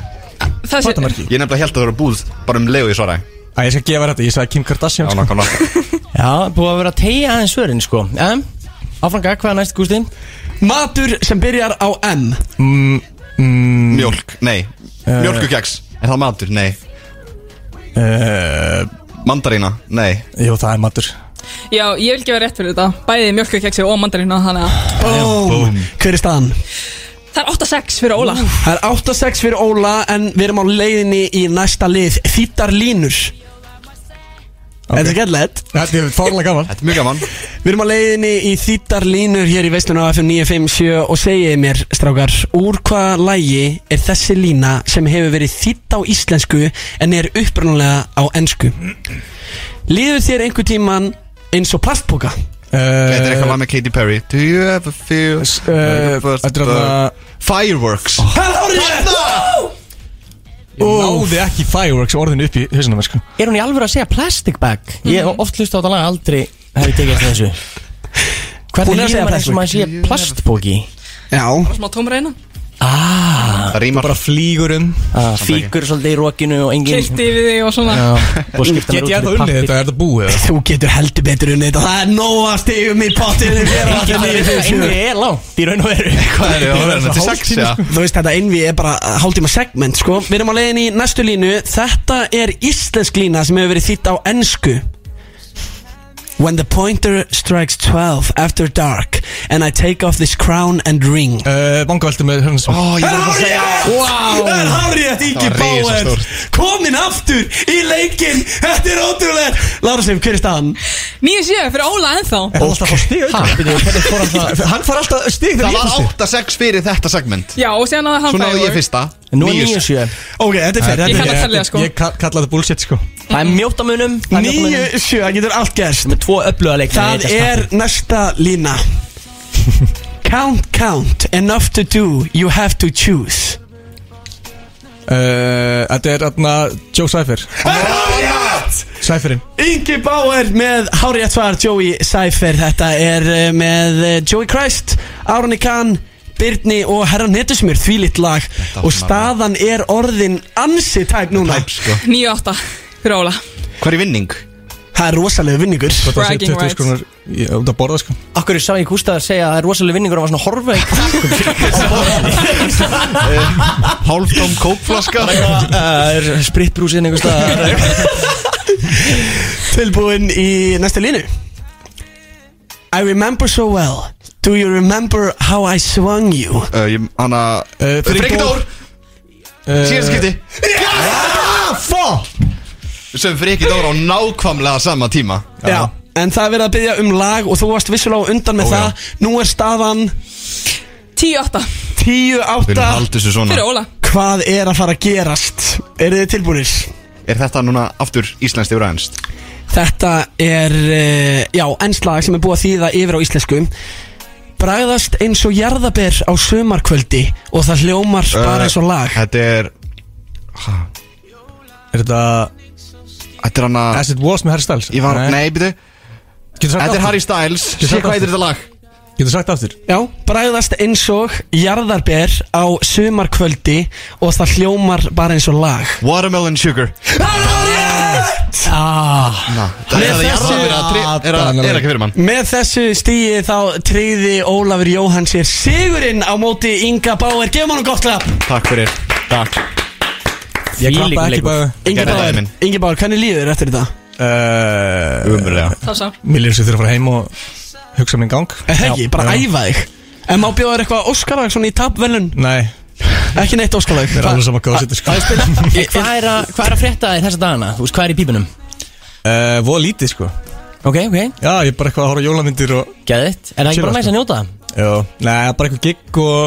B: Það sé-
D: fatamerki?
G: Ég nefnilega held að það voru búð Bara um leiðu ég svara
D: Æ, ég skal gefa þér þetta Ég sagði Kim Kardashian
G: Já,
D: sko.
G: nákvæmlega
C: Já, búið að vera að tegja aðeins svörin, sko En, áfranga, hvað er næst, Gústi?
A: Matur sem byrjar á M
D: mm, mm,
G: (laughs) Mjólk, nei Mjólkukeks Er það matur? Nei Eh.
D: uh,
G: Mandarína? Nei
D: Jú, það er matur
B: Já, ég vil gefa rétt fyrir þetta Bæði mjölkukeksi og mandarínu Þannig að
A: Bóm Hver er staðan?
B: það er 8-6 fyrir Óla
A: Það er 8-6 fyrir Óla En við erum á leiðinni í næsta lið Þýttar línur Er þetta gætlegt?
D: Þetta er fárlega gaman
G: Þetta er mjög gaman
A: Við erum á leiðinni í þýttar línur hér í veislunum á FM 957 og segiði mér, strákar, úr hvaða lægi er þessi lína sem hefur verið þýtt á íslensku en er upprunalega á ennsku? Líður þér einhver tíman eins og plastpoka?
G: Þetta er eitthvað
D: Þetta
G: lag með Katy Perry Do you ever feel
D: er
G: First Oh.
D: eitthvað
G: Fireworks
A: Það er hárið!
D: Náði ekki fireworks orðinu upp í hausinu mér sko
C: Er hún í alvöru að segja plastic bag? Ég
A: Mhm.
C: hef oft hlusta á þetta lag, aldrei hef ég tekið eftir þessu
A: Hún
C: Hvernig
A: er að segja
C: líður maður eins og maður sé
G: plastic.
C: plastbóki?
A: Já,
B: Smá tómreina
G: Það rýmar
D: Bara flýgur um
C: Ah, Fíkur svolítið í rokinu og engin
B: Kilti við þig og svona
C: (laughs) Get
D: Get ég að það unnið þetta, er þetta búið eða?
A: þú getur heldur betur unni þetta. Það er nóg að stigum í pottinu hér á FM
C: Engi
A: 957.
C: er langt í raun og veru
G: Hvað er það?
D: Þetta er
G: Þetta er sex, já
A: Þú veist þetta einvi er bara hálftíma segment sko Við erum á leiðinni í næstu línu Þetta er íslensk lína sem hefur verið þýtt á ennsku When the pointer strikes 12 after dark And I take off this crown and ring
D: Vangaveldur Eh, með hörnum
G: Ó, ég var að segja
A: Wow Það er hárið Ingi
G: Það var
A: Bauer
G: risastórt.
A: Komin aftur í leikin Þetta er ótrúlega Lárasif, hver er staðan?
B: 9-7 fyrir Óla ennþá
D: Er það alltaf að fá stig auðvitað? Hann fær alltaf stig
G: Það
D: þegar ég
G: var
D: fá stig
G: 8-6 fyrir þetta segment
B: Já, og síðan að hann
G: Svo náðu ég
B: firework.
G: fyrsta
C: Nú er
G: Níu-
C: 9-7
A: Ok, þetta er fyrir
B: Ég
A: Þetta
B: kann að
A: er
B: tellja, sko.
D: Ég ka- kalla þetta bullshit sko
C: Það er mjótt á munum það er mjótt á munum.
A: 9, 7, það getur allt gerst
C: Með tvo öfluga leikni
A: Það er næsta
G: (laughs)
A: lína Count, count, enough to do, you have to choose
D: Eh, Þetta er þarna Joe Cypher Cypherinn
A: Ingi Bauer með Háriðat svar Joey Cypher Þetta er eh, með eh, Joey Christ, Árni Kahn, Birni og Herran Nettusmjör Því litt lag og staðan er orðin ansi tæp núna
G: Tæp, sko
B: 9-8 fyrir Óla
G: Hver er vinning?
A: Það er rosalega vinningur
D: Þú ert að segja
B: Bragging
D: 20 skonar út að borða sko
C: Akkur sá ég Gústaf að segja að það er rosalega vinningur og hann var svona horfa í
A: (laughs)
C: krakkum
G: Hálftóm kókflaska
C: Það er spritbrúsin einhvers staðar
A: Tilbúin í næsta línu I remember so well Do you remember how I swung you?
G: Uh, ég- Hanna
D: Eh, Frigg
G: Frigg
D: Dór.
G: Dór
H: Eh,
G: Síðan skipti Ah, Fá Sem Frigg Dór á nákvæmlega sama tíma
A: Já, En það er verið að byggja um lag og þú varst vissulega á undan með
G: Ó,
A: það Nú er staðan
B: 10-8
A: Ah.
G: Við
A: 10-8
G: haldum þessu svona
B: fyrir Óla
A: Hvað er að fara að gerast? Eru þið tilbúinir?
G: Er þetta núna aftur íslenskt yfir aðeins?
A: Þetta er, uh, já, enslag sem er búið að þýða yfir á íslensku Bragðast eins og jarðaber á sömarkvöldi Og það hljómar
G: Eh,
A: bara eins og lag
G: Þetta er
H: Er þetta
G: Þetta er hann að
H: As it was með Harry Styles?
G: Ég var Nei, byrju
H: Getur sagt
G: Þetta er
H: aftur?
G: Harry Styles
H: Ég
G: Sér
H: sagði
G: hvað
H: aftur.
G: heitir þetta lag?
H: Getur sagt aftur?
A: Já, bragðast eins og jarðarber á sömarkvöldi Og það hljómar bara eins og lag
G: Watermelon Sugar
A: ah.
G: Na, Það
A: Með
G: er það
A: þessu-
G: jarðaber að tri- er að- er ekki fyrir mann
A: Með þessu stíði þá treyði Ólafur Jóhann sér sigurinn á móti Inga Bauer Gefum hann gott klapp
G: Takk fyrir Takk
H: Ég klappa ekki bara
A: Ingi
G: Gerði það,
A: Bauer,
G: minn.
A: Ingi Bauer, hvernig líður þér eftir þetta?
H: uh,
G: Umurlega
B: Tása
H: Mér lýður sem þurfa að fara heim og hugsa minn gang
A: Er það ekki, bara æfa þig En má bjóða þér eitthvað óskalag svona í tapvelun
H: Nei,
A: Ekki neitt óskalag
H: mér er alveg sama hvað þetta sko (laughs)
C: Hvað er, að, hvað er að frétta þér þessa dagana? Þú veist, hvað er í pípunum?
H: uh, Voða lítið sko
C: Ok, ok,
H: Já, ég er bara eitthvað að horfa á jólamyndir og
C: geðitt Er það ekki
H: Chill,
C: bara næst að njóta?
H: Já, nei, bara eitthvað gig og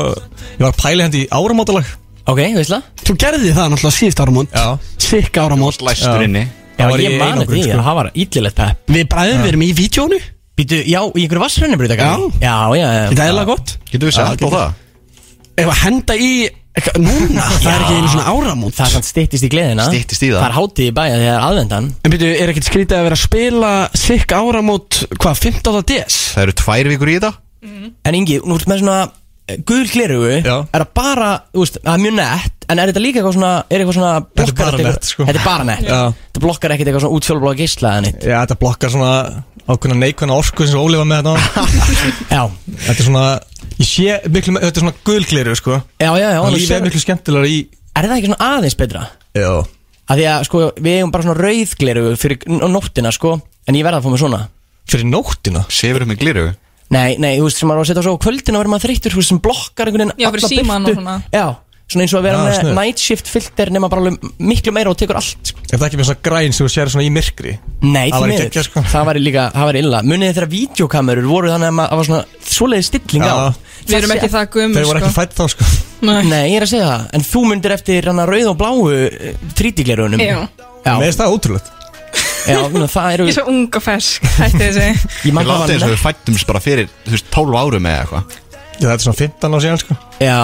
H: Ég var að pæla hendi í áramátalag
C: Ok, veistla?
A: Þú gerði það náttúrulega síðust áramót
H: Já.
A: Sikk áramót
G: Læstur
H: Já.
G: inni
C: Já,
H: var
C: ég
H: í
C: man
H: einangrun,
C: eftir því
H: sko.
C: að það var illilegt pepp
A: Við bræðum við erum í vídjónu
C: Býtu, já, í einhverju vassrennibrið Já, já, já
A: Þetta er eða gott
G: Getur við sett á það?
A: Ef að henda í eitthvað
C: (laughs)
A: Núna, það er ekki einu svona áramót
C: Það er samt styttist í gleðina
G: Styttist í það.
C: Það er hátíð í bæja þegar aðvendan
A: En byrju, er ekkert skrítið að vera að spila Sikk áramót, hvað, 15. des?
G: Það eru tvær vikur í þetta?
C: En Ingi, nú ertu með svona eh, gul glerugu Er
H: Já.
C: það bara, þú veist, það er mjög nett En er þetta líka eitthvað svona, er eitthvað svona
H: Þetta er
C: blokkar
H: bara
C: þetta eitthvað-
H: nett, sko.
C: Þetta er bara nett
H: Já.
C: Þetta blokkar ekkert eitthvað svona útfjólblóða geisla eða neitt
H: Já, þetta blokkar svona ákveðna neikvæðna orku sem Óli var með þetta
G: (laughs)
H: áðan.
C: Já,
H: Þetta er svona, ég sé miklu með, þetta er svona gulgleru sko
C: já, já, já
H: Og
C: þú
H: lífið er
C: sérð-
H: miklu skemmtilegar í
C: Er það ekki svona aðeins betra?
H: Já
C: Af því að, sko, við eigum bara svona rauðglerugu fyrir n- nóttina, sko En ég verða að fá mig svona
H: Fyrir nóttina
G: Sefur um upp með gliru
C: Nei, nei, þú veist, sem maður á að setja á svo á kvöldin og verður maður þreyttur, þú veist, sem blokkar einhvern veginn
B: Já, fyrir
C: alla
B: símann og
C: birtu.
B: svona.
C: Já, svona eins og að vera
H: Já,
C: með
H: sniðugt.
C: night shift filter nema bara alveg miklu meira og tekur allt sko.
H: Ef það ekki með svona græn sem þú sér svona í myrkri Það
C: Nei, því
H: væri
C: miður.
H: geggjað, sko.
C: það var líka, það var illa Munið þegar videokamerur voru þannig að maður það var svona svoleiði stilling
H: Já.
C: á
B: Við erum ekki það
H: Þau
B: gömur
H: voru ekki
B: sko
H: fætt þá sko
B: Nei.
C: Nei, ég er að segja það, en þú myndir eftir hana rauð og bláu eh, 3D-glerunum
B: Já.
H: Mér
C: já,
H: finnst það ótrúlegt
C: já svona, það eru
B: Ég er svo ung og fersk Hætti þessi
C: Ég
G: Við
C: man hvað
G: látið
C: var
G: eins og við
C: nett
G: fættumst bara fyrir Þú veist, 12 árum eða eitthvað
H: Já, þetta er svona 15 á síðan sko
C: Já,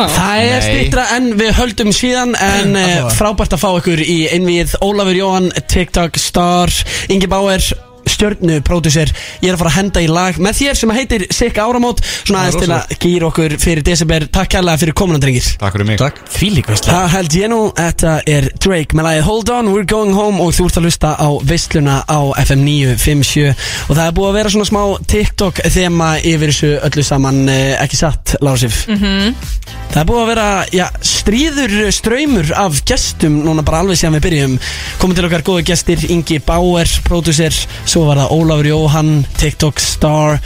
A: Það er
G: Nei.
A: stýttra en við höldum síðan En uh, frábært að fá ykkur í innvið Ólafur Jóhann, TikTok star Ingi Bauer, stjörnu pródusir Ég er að fara að henda í lag með þér sem heitir Sikk Áramót Svona aðeins til að gýra okkur fyrir desember Takk kærlega fyrir komuna drengir
G: Takk fyrir mig
H: Takk
C: því líka veistlega
A: Það held ég nú, þetta er Drake með lagið Hold On, We're Going Home og þú ert að hlusta á veisluna á FM 957 og það er búið að vera svona smá TikTok þema yfir þessu öllu saman, eh, ekki satt, Lásif -hmm. Það er búið að vera, já, stríður ströymur af gestum núna bara alveg síðan við byrjum komum til okkar góðu gestir, Ingi Bauer, pródusir, svo var það Ólafur Jóhann, TikTok star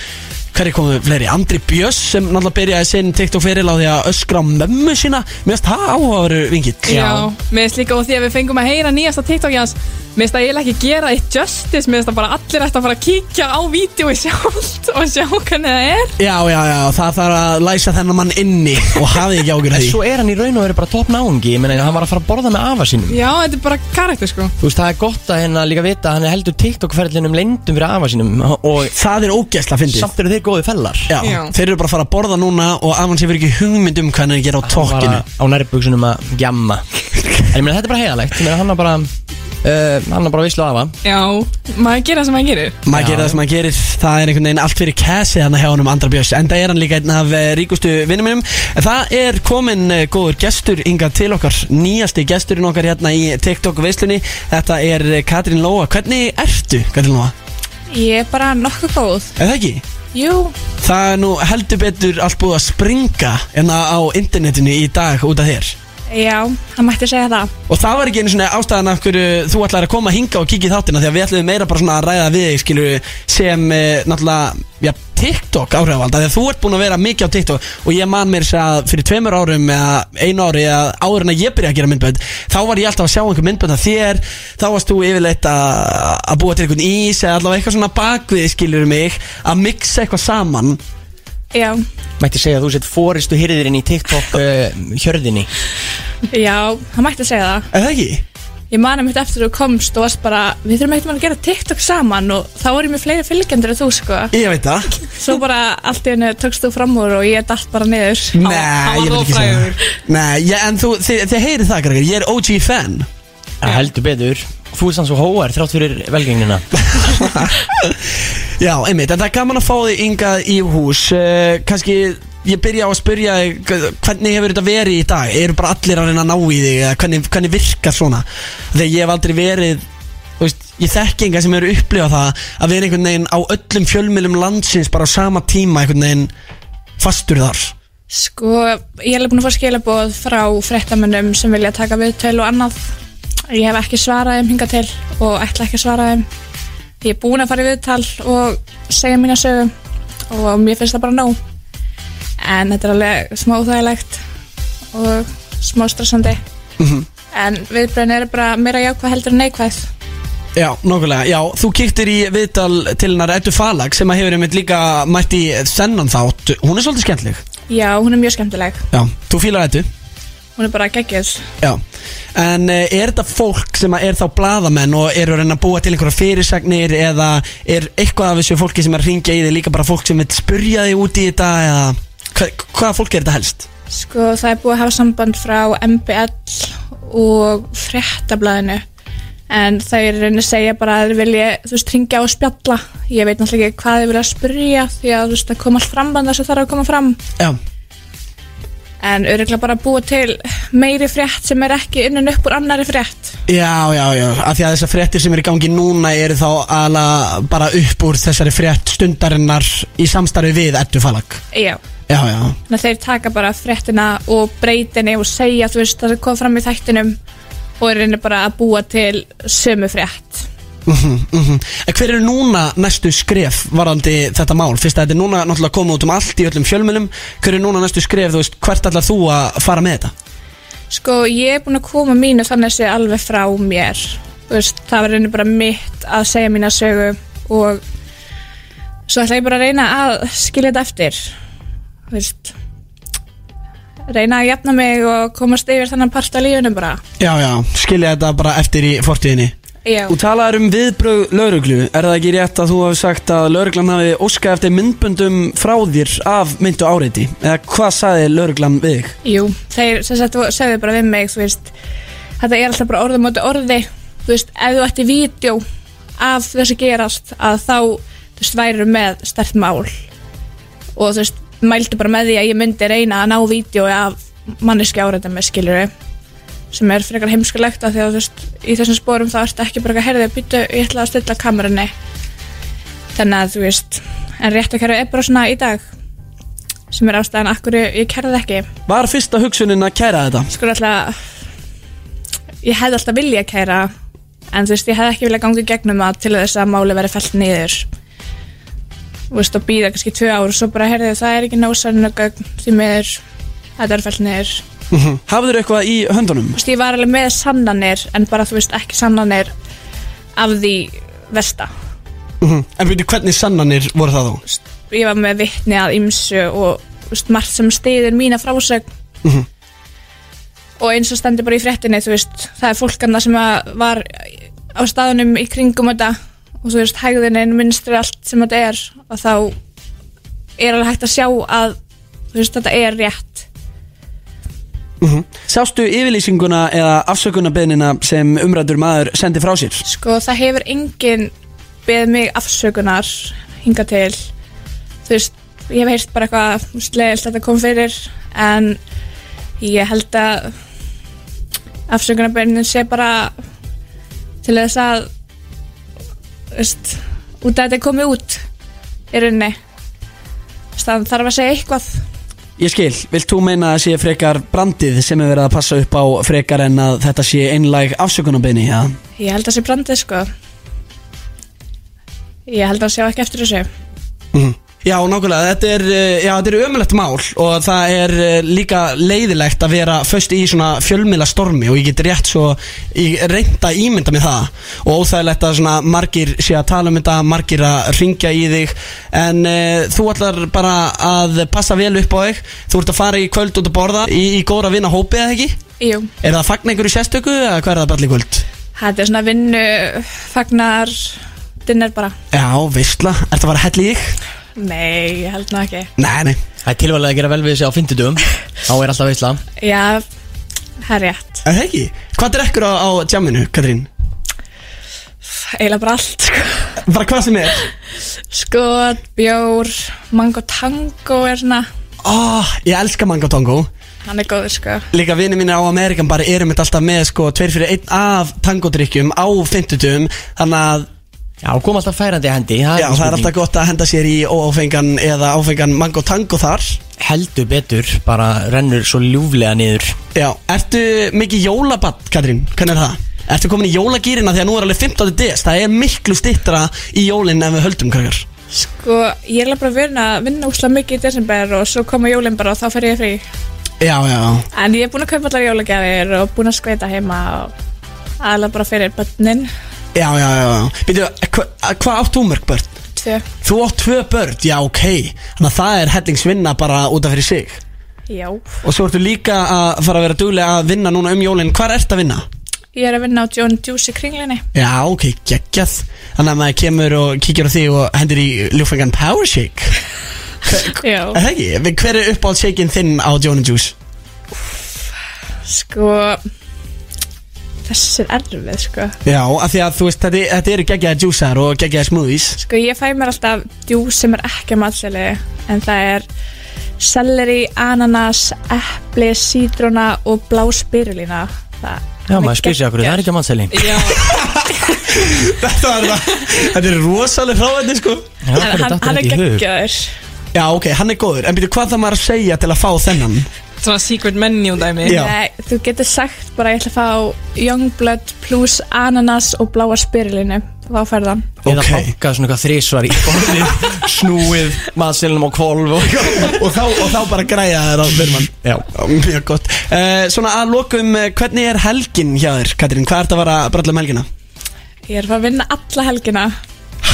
A: Hverju komu fleiri? Andri Björs sem náttúrulega byrjaði sinn TikTok feril á því að öskra á mömmu sína Mér finnst það áhugaveru vingill
B: Já, mér finnst líka og því að við fengum að heyra nýjasta TikTok í hans Mér finnst að eiginlega ekki gera eitt justice Mér finnst að bara allir ætti að fara að kíkja á vídeo sjálft og sjá hvernig það er
A: já, já, já, það þarf að læsa þennan mann inni og hafið ekki ágjur
C: En
A: því
C: svo er hann í raun og verið bara topp náungi Ég meina, hann var að fara að borða með afa sínum
B: Já, þetta er bara karakter sko
C: Þú veist, það er gott að hérna líka vita að hann er heldur TikTok-ferðlinum leyndum fyrir afa sínum og
A: Það er ógæsla að fyndi
C: samt eru þeir góði fellar
A: já,
B: Já.
A: Þeir eru bara að fara að borða núna og af hans hefur ekki hugmynd um hvað hann er að gera á
C: Bara
A: tokkinu
C: á nærbuksunum að gjamma En ég meina, þetta er bara heiðalegt Ég meina, hann er bara, uh, hann er bara vislu afa
B: Já, maður gerir það sem maður gerir
A: Maður gerir það sem maður gerir, það er einhvern veginn allt fyrir kæsið hann að hjá honum Andra Björns En það er hann líka einn af eh, ríkustu vinnum minnum En Það er komin eh, góður gestur yngar til okkar Nýjasti gesturinn okkar hérna í TikTok veislunni Þetta er eh, Katrín Lóa Hvernig ertu, Katrín Lóa?
K: Ég er bara nokkuð góð.
A: Er það ekki?
K: Jú,
A: Það er nú heldur betur allt búið að springa hérna á internetinu í dag út af þér
K: já, það mætti segja það.
A: Og það var ekki einu svona ástæðan af hverju þú ætlar að koma hinga og kíkja í þáttina Því að við ætlum meira bara svona að ræða við þig skilur sem eh, náttúrulega, já, TikTok áhrifald Þegar þú ert búin að vera mikið á TikTok Og ég man mér sér að fyrir tveimur árum Eða einu ári eða áður en að ég byrja að gera myndbönd Þá var ég alltaf að sjá einhver myndbönd af þér Þá varst þú yfirleitt að, að búa til einhvern ís Eða allavega eitthvað svona bakvið skilur mig Að mixa eitthvað saman
B: Já,
C: Mætti segja að þú sett fóristu hirðirinn í TikTok uh, hjörðinni
B: já, það mætti segja það
A: Er það ekki?
B: Ég man að mitt eftir þú komst og varst bara Við þurfum eitthvað að gera TikTok saman Og þá var ég með fleiri fylgjendur en þú sko
A: Ég veit það
B: Svo bara allt í henni tókst þú fram úr Og ég dalt bara niður
A: Nei, ég vil ekki segja það Nei, ég, en þú, þið, þið heyrið það krakkar, ég er OG fan
C: Það heldur betur Þú er sann svo hóar þrátt fyrir velgengnina
A: Já, einmitt, en það er gaman að fá þig yngað í hús uh, Kanski, ég byrja á að spyrja þig, hva- Hvernig hefur þetta verið í dag? Eru bara allir að reyna að ná í þig? eða Hvernig, hvernig virkar svona? Þegar ég hef aldrei verið þú veist, Ég þekki enga sem eru upplifað það Að vera einhvern veginn á öllum fjölmiðlum landsins Bara á sama tíma einhvern veginn Fastur þar
B: Sko, ég er alveg búin að fá skilaboð frá fréttamönnum sem vilja taka viðtöl og annað. Ég hef ekki svarað þeim hinga til og ætla ekki að svara þeim. Ég er búin að fara í viðtal og segja mína sögu og mér finnst það bara nóg. En þetta er alveg smá þægilegt og smá stressandi.
A: Mhm.
B: En viðbröðin eru bara meira jákvæð heldur en neikvæð.
A: Já, nokkulega, já, þú kíktir í viðtal til hennar Eddu Falag sem að hefur einmitt líka mætt í þennan þátt Hún er svolítið skemmtleg
B: Já, hún er mjög skemmtileg.
A: Já, þú fílar Eddu
B: Hún er bara geggjöð.
A: Já, en eh, er þetta fólk sem að er þá bladamenn og eru að reyna að búa til einhverja fyrirsagnir eða er eitthvað af þessu fólki sem er að ringja í þig líka bara fólk sem vil spurja þig út í þetta eða hva, hvaða fólk er þetta helst?
B: Sko það er búið að hafa samband frá MBL og fréttablaðinu en það er reyni að segja bara að þeir vilja þú veist ringja og spjalla ég veit náttúrulega ekki hvað þeir vilja að spyrja því að þú veist það kom allt fram þannig að það þarf að koma fram
A: Já.
B: en öruglega bara að búa til meiri frétt sem er ekki innan upp úr annari frétt
A: Já, já, já, af því að þessar fréttir sem eru í gangi núna eru þá ala bara upp úr þessari frétt stundarinnar í samstarfi við Eddu Falag
B: já
A: Já, já,
B: þannig að þeir taka bara fréttina og breytinni og segja þú veist það kom fram í þættinum og er reyni bara að búa til sömu frétt
A: Mhm, mhm. En hver eru núna næstu skref varandi þetta mál? Fyrst að þetta er núna náttúrulega komið út um allt í öllum fjölmunum Hver eru núna næstu skref, þú veist, hvert ætlar þú að fara með þetta?
B: Sko, ég er búin að koma mínu þannig að sé alveg frá mér. Þú veist, það var reynir bara mitt að segja mína sögu og svo ætla ég bara að reyna að skilja þetta eftir. Þú veist, reyna að jafna mig og komast yfir þannig part af lífinu bara.
A: Já, já, skilja þetta bara eftir í fortíðinni
B: Já,
A: Þú talaðir um viðbrög lauruglu Er það ekki rétt að þú hafi sagt að lauruglan hafi óskað eftir myndböndum frá þér af myndu áreiti? Eða hvað sagði lauruglan við þig?
B: jú, þeir sem sagt segðu bara við mig, þú veist, þetta er alltaf bara orðum átti orði. Þú veist, ef þú ætti vídeo af þessu gerast að þá, þú veist, væru með stert mál. og þú veist, mældu bara með því að ég myndi reyna að ná vídeo af manneski áreita með skiljuru sem er frekar heimskulegt af því að þú veist, í þessum spórum þá ertu ekki bara að herðið að byttu, ég ætla að stilla kamerunni þannig að þú veist en rétt að er bara svona í dag sem er ástæðan akkur ég kerði ekki
A: Var fyrsta hugsunin að kæra þetta?
B: sko alltaf ég hefði alltaf vilja að kæra en þú veist, ég hefði ekki vilja ganga í gegnum að til þess að máli veri fellt niður þú veist, og býða kannski tvö ár og svo bara, heyrðu, það er ekki nósarinn og gögn því miður, þetta er fellt niður þú
A: Hafður eitthvað í höndunum?
B: veist, ég var alveg með sannanir en bara, þú veist, ekki sannanir af því vesta
A: Mhm. En veitu hvernig sannanir voru það þú?
B: ég var með vittni að ymsu og þú veist, margt sem stiðir mína frásögn
A: Mhm.
B: og eins og stendur bara í fréttinni þú veist, það er fólkanda sem að var á staðunum í kringum þetta og þú veist, hægðinin minnstri allt sem þetta er og þá er alveg hægt að sjá að þú veist, þetta er rétt
A: Sástu yfirlýsinguna eða afsökunarbeðnina sem umræður maður sendi frá sér?
B: sko það hefur enginn beðið mig afsökunar hinga til þú veist, ég hef heyrt bara eitthvað þú veist, leiðilegt að þetta kom fyrir en ég held að afsökunarbyrnin sé bara til þess að þú veist, út að þetta er komið út í rauninni Þú veist, það þarf að segja eitthvað
A: Ég skil, vilt þú meina að það sé frekar brandið sem er verið að passa upp á frekar en að þetta sé einlæg afsökunarbeini, já?
B: ég held að sé brandið sko ég held að sjá ekki eftir þessu
A: Mm. Já, nákvæmlega, þetta er, eh, já, þetta er ömulegt mál og það er eh, líka leiðilegt að vera föst í svona fjölmiðla stormi og ég get rétt svo ég reynda að ímynda mig það og óþægilegt að svona margir sé að tala um þetta, margir að ringja í þig en uh, þú ætlar bara að passa vel upp á þig þú ert að fara í kvöld út að borða í, í góðra vinna hópi eða ekki?
B: Jú,
A: Er það að fagna einhverju sérstöku eða hvað er það bara í kvöld?
B: þetta er svona vinnu, fagnar, dinner bara.
A: Já, veistla, ert það bara að hella í þig?
B: Nei, ég held nú ekki.
A: Nei, nei
C: Það er tilvægilega að gera vel við þessi á fyndidum Þá er alltaf veisla
B: Já, það er rétt.
A: Er það ekki? Hvað drekkur á, á jamminu, Katrín?
B: Eiginlega bara allt, sko.
A: Bara hvað sem er?
B: Skot, bjór, mango tango er svona,
A: Oh, ég elska Mango Tango
B: hann er góður, sko.
A: Líka vinni mínir á Amerikan bara erum þetta alltaf með sko Tveir fyrir einn af tangodrykkjum á fyndutum Þannig að
C: Já, kom alltaf færandi í hendi
A: já, það er alltaf gott að henda sér í óáfengan eða áfengan Mango Tango þar
C: Heldur betur, bara rennur svo ljúflega niður
A: Já, ertu mikið jólabatt, Katrín? Hvernig er það? Ertu komin í jólagýrina því að nú er alveg 15. des Það er miklu stittra í jólinn en við höldum, krakkar
B: Sko, ég er eiginlega bara vinna, vinna úslega mikið í desember og svo koma jólinn bara og þá fer ég frí.
A: Já, já, já
B: En ég er búin að kaupa allar jólagjafir og búin að skveita heima og aðalega bara fyrir börnin,
A: Já, já, já, já Býtu, hva- hvað átt þú mörg börn?
B: tvö.
A: Þú átt tvö börn, já, ok Þannig að það er hellingsvinna bara út af fyrir sig
B: Já.
A: Og svo ertu líka að fara að vera duglega að vinna núna um jólinn Hvar ertu að vinna?
B: Ég er að vinna á John Juice í kringlinni. (laughs)
A: Já, ok, geggjað Þannig að maður kemur og kíkir á þig og hendur í ljúfengan Power Shake
B: Já.
A: Er það ekki? Við- Hver er uppáld shakeinn þinn á Joan Juice?
B: Sko, þessi er erfið, sko.
A: Já, af því að þú veist, þetta, þetta eru geggjaði juicear og geggjaði smoothies
B: Sko, ég fæ mér alltaf djús sem er ekki matseli, en það er selleri, ananas, epli, sítrona og blá spirulína. Það
C: Já, maður spyr sér okkur, það er ekki að mannsæli
I: Já,
A: (laughs) Þetta er það Þetta er rosalega frávændi, sko
B: En hann, hann er geggjöður.
A: Já, ok, hann er góður En byrju, hvað það maður að segja til að fá þennan?
I: svona secret menu dæmi
A: Já.
B: Nei, þú getur sagt bara ég ætla að fá Youngblood plus ananas og bláa spirulínu. Þá færðu hann.
C: Eða
A: Ok.
C: banka svona eitthvað þrísvar í (laughs) borðið Snúið, mannsælinum og kvolf og
A: (laughs) og, þá, og þá bara græja þér á fyrir mann
C: Já.
A: Mjög gott uh, Svona að lokum, eh, hvernig er helgin hjá þér, Katrín? Hvað ert að vara að bralla um helgina?
B: Ég er að fara að vinna alla helgina.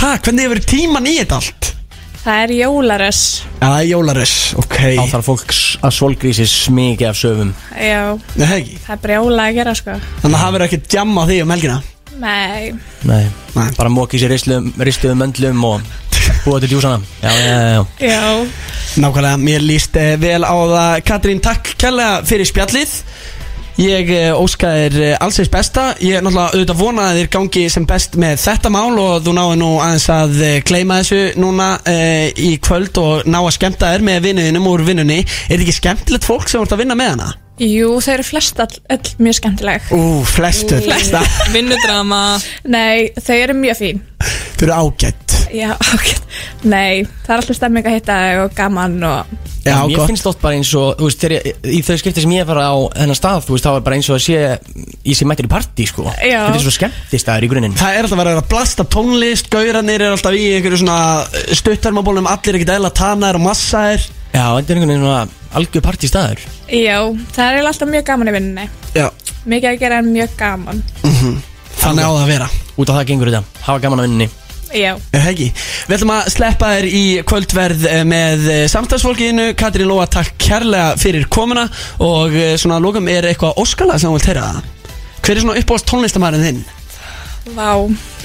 A: Ha, hvernig hefur tíman í þetta allt?
B: Það er jólares.
A: Já, það er jólares, ok
C: Þá þarf fólk s- að svolgrísi smikið af söfum
B: Já,
A: Nei, það ekki
B: það er bara jóla að gera, sko.
A: Þannig að það verður ekkert jamma á því um helgina
B: Nei,
C: Nei,
A: Nei.
C: bara mókið sér ristuðum möndlum og búa til djúsana Já, já, já, já
B: já.
A: Nákvæmlega, mér líst eh, vel á það Katrín, takk kærlega fyrir spjallið Ég eh, óska þér eh, alls eins besta Ég er náttúrulega auðvitað vona að þér gangi sem best með þetta mál og þú náðu nú aðeins að eh, gleyma þessu núna eh, í kvöld og ná að skemmta þér með vinnuðinum úr vinnunni Er þetta ekki skemmtilegt fólk sem vart að vinna með hana?
B: Jú, þau eru flest all, all mjög skemmtileg.
A: Ú, flestu (laughs) Þau
I: Vinnudrama
B: Nei, þau eru mjög fín.
A: eru ágætt
B: Já, (laughs) ok. Nei, það er alltaf stemming að hitta þau og gaman og...
A: Já,
C: mér
A: gott
C: finnst oft bara eins og, þú veist, þegar ég, í þau skipti sem ég er bara á hennar stað, þú veist, þá er bara eins og að sé ég sé mættir í partí, sko.
B: Já.
C: Þetta er svo skemmtist aður í grunninn.
A: Það er alltaf verið að blasta tónlist, gauranir er alltaf í einhverju svona stuttarmabólum, allir ekkert eðla tanaðir og massaðir
C: Já, þetta er einhvern veginn svona algjör partí staður.
B: Já, það er eiginlega alltaf mjög gaman í vinninni.
A: Já,
B: Mikið að gera en mjög gaman.
A: þannig á það að vera
C: Út af það gengur þetta. Hafa gaman að vinninni.
B: Já.
A: Er það ekki? Við ætlum að sleppa þér í kvöldverð eh, með eh, samstagsfólkinu Katrín Lóa, takk kærlega fyrir komuna og eh, svona að lokum er eitthvað óskala sem hún vil teyra það Hver er svona uppáhast tónlistamærin þinn?
B: Vá,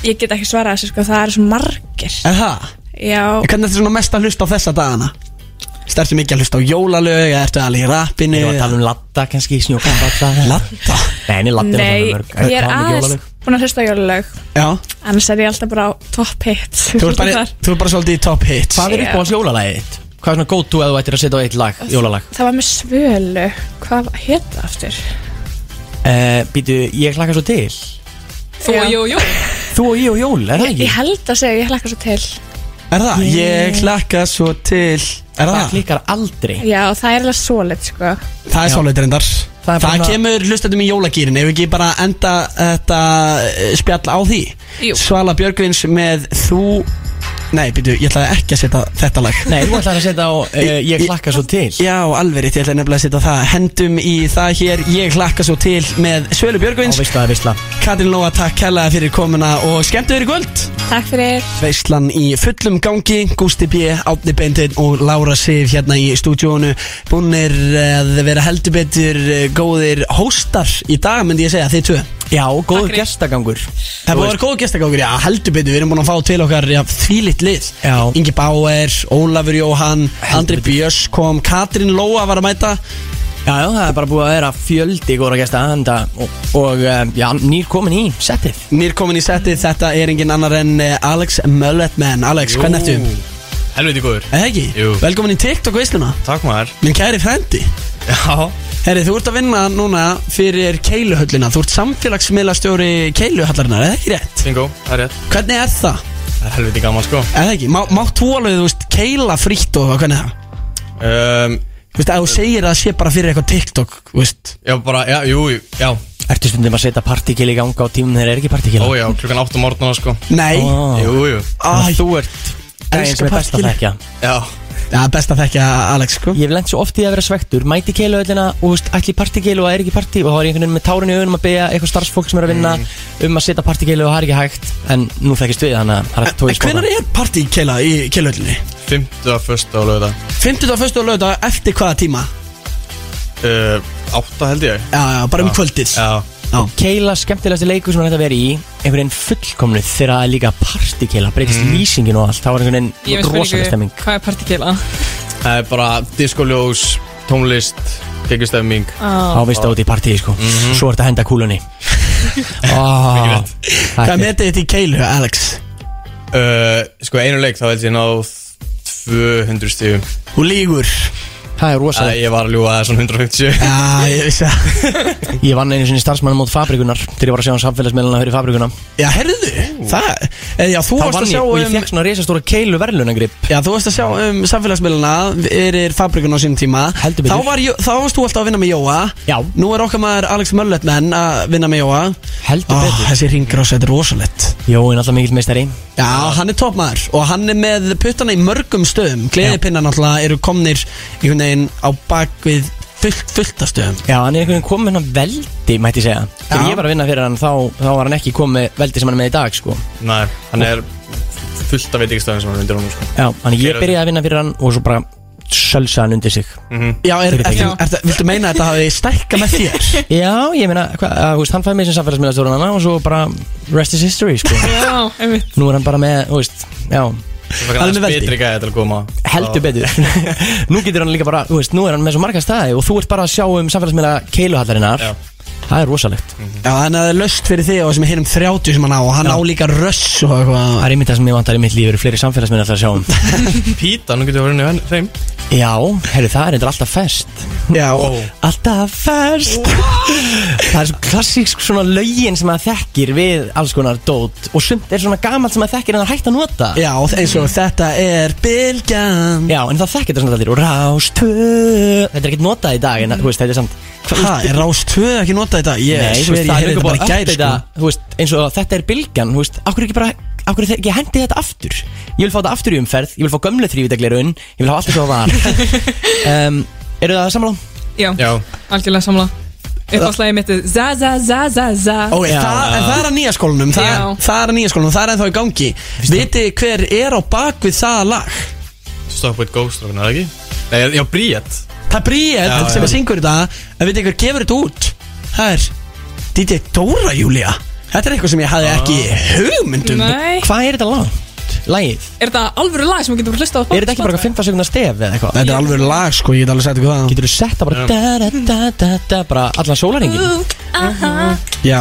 B: ég get ekki svarað þessu sko, það eru svo margir
A: Er það?
B: Já,
A: En Hvernig ertu svona mest að hlusta á þessa dagana? Stertu mikið að hlusta á jólalög eða ertu alveg í rappinu?
C: Ég var að tala um ladda, kannski, snjókan (laughs) ladda.
A: Ladda?
C: Nei, nei, ladda
B: nei,
C: er alltaf mörg.
B: ég er
C: um Það mikið
B: aðeins
C: jólalög.
B: búin að hlusta á jólalög
A: Já,
B: annars er ég alltaf bara á top hit
A: þú ert um- bara,
B: Þar.
A: þú ert bara svolítið í top hits
C: Hvað er
B: Já.
C: uppáhalds jólalagið þitt? Hvað er svona go to að þú ættir að setja á eitt lag, jólalag?
B: (laughs) Það var með svölu, hvað hétt það aftur?
C: Uh, Býtu, ég hlakka svo til.
I: Þú,
B: Já.
I: jú, jú
C: Þú og ég og jól, er það ekki?
B: Ég held að segja, ég hlakka svo til
A: Er það? Ég klakka svo til Er
C: Það
A: það?
C: klikkar aldrei.
B: Já, það er alveg solid sko
A: Það er
C: Já.
A: svolítið reyndar
C: Það er
A: Það,
C: bara svona-
A: kemur hlustandum í jólagýrin Ef við ekki bara enda þetta eh, spjall á því
B: Jú.
A: Svala Björgvins með Þú Nei, býtu, ég ætlaði ekki að setja þetta lag
C: Nei, þú ætlar að setja á uh, Ég hlakka svo til
A: Já, alveg rétt, ég ætlaði nefnilega að setja það Hendum í það hér, ég hlakka svo til Með Svölu Björgvins
C: Ávisla, ávisla
A: Katrin Lóa, takk hella fyrir komuna Og skemmtu þér í kvöld
K: Takk fyrir
A: Veislan í fullum gangi Gústi B, Átni Beintin og Lára Sif hérna í stúdíónu Búnir eh, að vera heldur betur eh, góðir hóstar í dag myndi ég segja, þið tvö
C: Já, góður gestagangur
A: Það er búin að vera góð gestagangur, já, heldur betur Við erum búin að fá til okkar já, þvílitt lið
C: Já.
A: Ingi Bauer, Ólafur Jóhann Andri Björs kom, Katrin Lóa var að mæta
C: Já, já, það er bara búið að vera fjöldi góðra gesta handa, og, og eh, já, nýr komin í settið
A: Nýr komin í settið, þetta er engin annar en eh, Alex Mulletman Alex, hvernig ertu?
L: Helviti góður
A: Er það ekki?
L: Jú.
A: Velkomin í TikTok-veisluna
L: Takk maður
A: Minn kæri frendi
L: Já
A: Herri, þú ert að vinna núna fyrir keiluhöllina Þú ert samfélagsmiðlastjóri keiluhallarinnar, er það ekki rétt?
L: Bingo, það er rétt
A: Hvernig er það?
L: Það er helviti gaman sko
A: Er það ekki? Má, mátt þú alveg, þú veist, keila frítt og eitthvað, hvernig er það?
L: um,
A: Þú veist, að þú segir að það sé bara fyrir eitthvað TikTok, þú veist
L: Já, bara, já, jú, jú, já
C: Ertu stundum að setja partíkil í ganga á tímum þegar er ekki partíkil?
L: Ó já, klukkan 8 morgunar sko
A: Nei,
C: Ó.
L: Jú, jú
A: Æ,
C: Þú ert gæðin sem er best að
A: partíkil.
C: þekkja
L: Já
A: Já, best að þekka Alex, sko
C: Ég hef lent svo oft í að vera svektur Mæti keilu öllina og þú veist, ætli partíkeilu og er ekki partí Og þá er ég einhvern veginn með tárun í augunum að beja eitthvað starfsfólk sem er að vinna Um að setja partíkeilu og það er ekki hægt En nú þekkist við þannig að það er tóið
A: Hvernig er partíkeila í keiluhöllinni?
L: 50 að fyrsta á lögða
A: 50. og 1. lögdag eftir hvaða tíma?
L: uh, 8 held ég
A: Já, já, bara um kvöldið
L: Já
A: Já.
C: Keila skemmtilegasti leikur sem hann hægt að vera í einhvern veginn fullkomnu þegar það er líka partíkeila breytist lýsingin og allt, það var einhvern
B: Ég
C: veginn rosalega stemming
B: hvað er ah? partíkila?
L: Það er bara diskoljós, tónlist, kekustemming
C: þá veist það út í partíi sko svo er þetta að henda kúlunni
L: Mikið
C: oh,
L: rétt.
A: Hvað metið þið í keilu, Alex?
L: uh, Sko einu leik þá held ég náð 200 stífum
A: Þú lígur
C: það er
L: Það
C: rosalega
L: ég var að ljúga það er svona 150
A: Já, ég vissi að
C: ég vann einu sinni starfsmann mót fabrikunar þegar ég var að sjá um samfélagsmiðluna fyrir fabrikuna
A: Já, herðu, það eh, Já, þú
C: þá
A: varst
C: vann
A: að
C: ég
A: sjá
C: og ég
A: um
C: fekk svona risastóra keilu verðlunagrip
A: Já, þú varst að sjá um samfélagsmiðluna Erir fabrikun á sínum tíma
C: Heldur
A: Þá,
C: betur.
A: var, Jó- þá varst þú alltaf að vinna með Jóa
C: Já.
A: Nú er okkar maður Alex Mölletmenn að vinna með Jóa
C: heldur
A: Ó,
C: betur
A: Þessi ringrás, þetta er rosalett
C: Jóin alltaf mikill meistari
A: Já, hann er toppmaður Og hann er með puttana í mörgum stöðum Gleðipinnar náttúrulega eru komnir einhvern veginn á bakvið fullt, fullt af stöðum
C: Já, hann er einhvern veginn komið með hann veldi, mætti ég segja Þegar
A: Já.
C: ég var að vinna fyrir hann, þá, þá var hann ekki komið með veldi sem hann er með í dag, sko
L: (laughs) Nei, hann er fullt af veitingstæðin sem hann vindur honum sko
C: Já, hann ég byrjaði að vinna fyrir hann og svo bara sölsa hann undir sig
A: Já, er, er,
C: Fyrir
A: er,
C: þig.
A: er, viltu meina að þetta hafi stækka með þér?
C: (laughs) Já, ég meina, hva, að, þú veist, hann fæði mig sem samfélagsmiðlastjóran hann og svo bara rest is history, sko
A: (laughs)
B: Já, einmitt
C: Nú er hann bara með, þú veist, já,
L: Það er
A: Hann er
L: aðeins
A: með veldi.
L: betri gæði til að koma
C: heldur betur (laughs) Nú getur hann líka bara, þú veist, nú er hann með svo marga staði og þú ert bara að sjá um samfélagsmiðla keiluhallarinnar
L: Já.
C: Það er rosalegt
A: Já, hann er löst fyrir þig og sem er hér um 30 sem hann á Og hann á líka röss og eitthvað
C: Það er einmitt það sem ég vantar í mitt líf, eru fleiri samfélagsmiðla alltaf að sjá um
L: Píta, nú getur við að vera inn í henn- þeim
C: Já, herru, það er eitthvað alltaf fest
A: Já, og
C: Alltaf fest (laughs) Það er svo klassísk svona lögin sem maður þekkir við alls konar dót og sumt er svona gamalt sem maður þekkir en það er hægt að nota
A: Já, eins og þetta er Bilgjan
C: Já, en það þekkir þetta svona allir og rástu Þetta er ekkert notað í dag en þú veist, þetta er samt
A: Ha, er Rás 2 ekki notað í dag? Ég
C: Nei, þú
A: sver
C: veist,
A: ég
C: það er
A: heyrði
C: líka
A: þetta
C: bara
A: bara
C: að
A: gæri
C: updata
A: sko
C: Þú veist, eins og þetta er bylgan Þú veist, akkur ekki bara Akkur er ekki hendi þetta aftur Ég vil fá þetta aftur í umferð Ég vil fá gömlu þrývitaglerun Ég vil hafa allt eins og (laughs) það var um, Eru það sammála?
B: Já,
L: Já,
B: algjörlega samla Uppáðslægi mitt er za za za za za
A: Ó,
C: Já.
A: það, en það er að nýja skólanum það,
B: Já.
A: það er að nýja skólanum, það er ennþá í gangi Viti hver er á bak við það lag?
L: Stop with Ghost Rock'n, er það ekki? Nei, já, Bríett
A: Það er Bríett
L: Já,
A: sem
L: já.
A: að syngur þetta En viti hver gefur þetta út? Það er DJ Dóra Júlia Þetta er eitthvað sem ég hafði ekki
L: Ah.
A: hugmyndum
B: Nei,
C: Hvað er þetta langt? Lægið?
B: er þetta alvöru lag sem við getum hlusta á
C: Er þetta ekki bara 15 sekundar stef eða eitthvað?
A: Þetta er alveg lag sko, ég get alveg sagt ykkur það
C: Getur þú sett það bara da, da, da, da, da, Bara allan sólaringin
A: Já,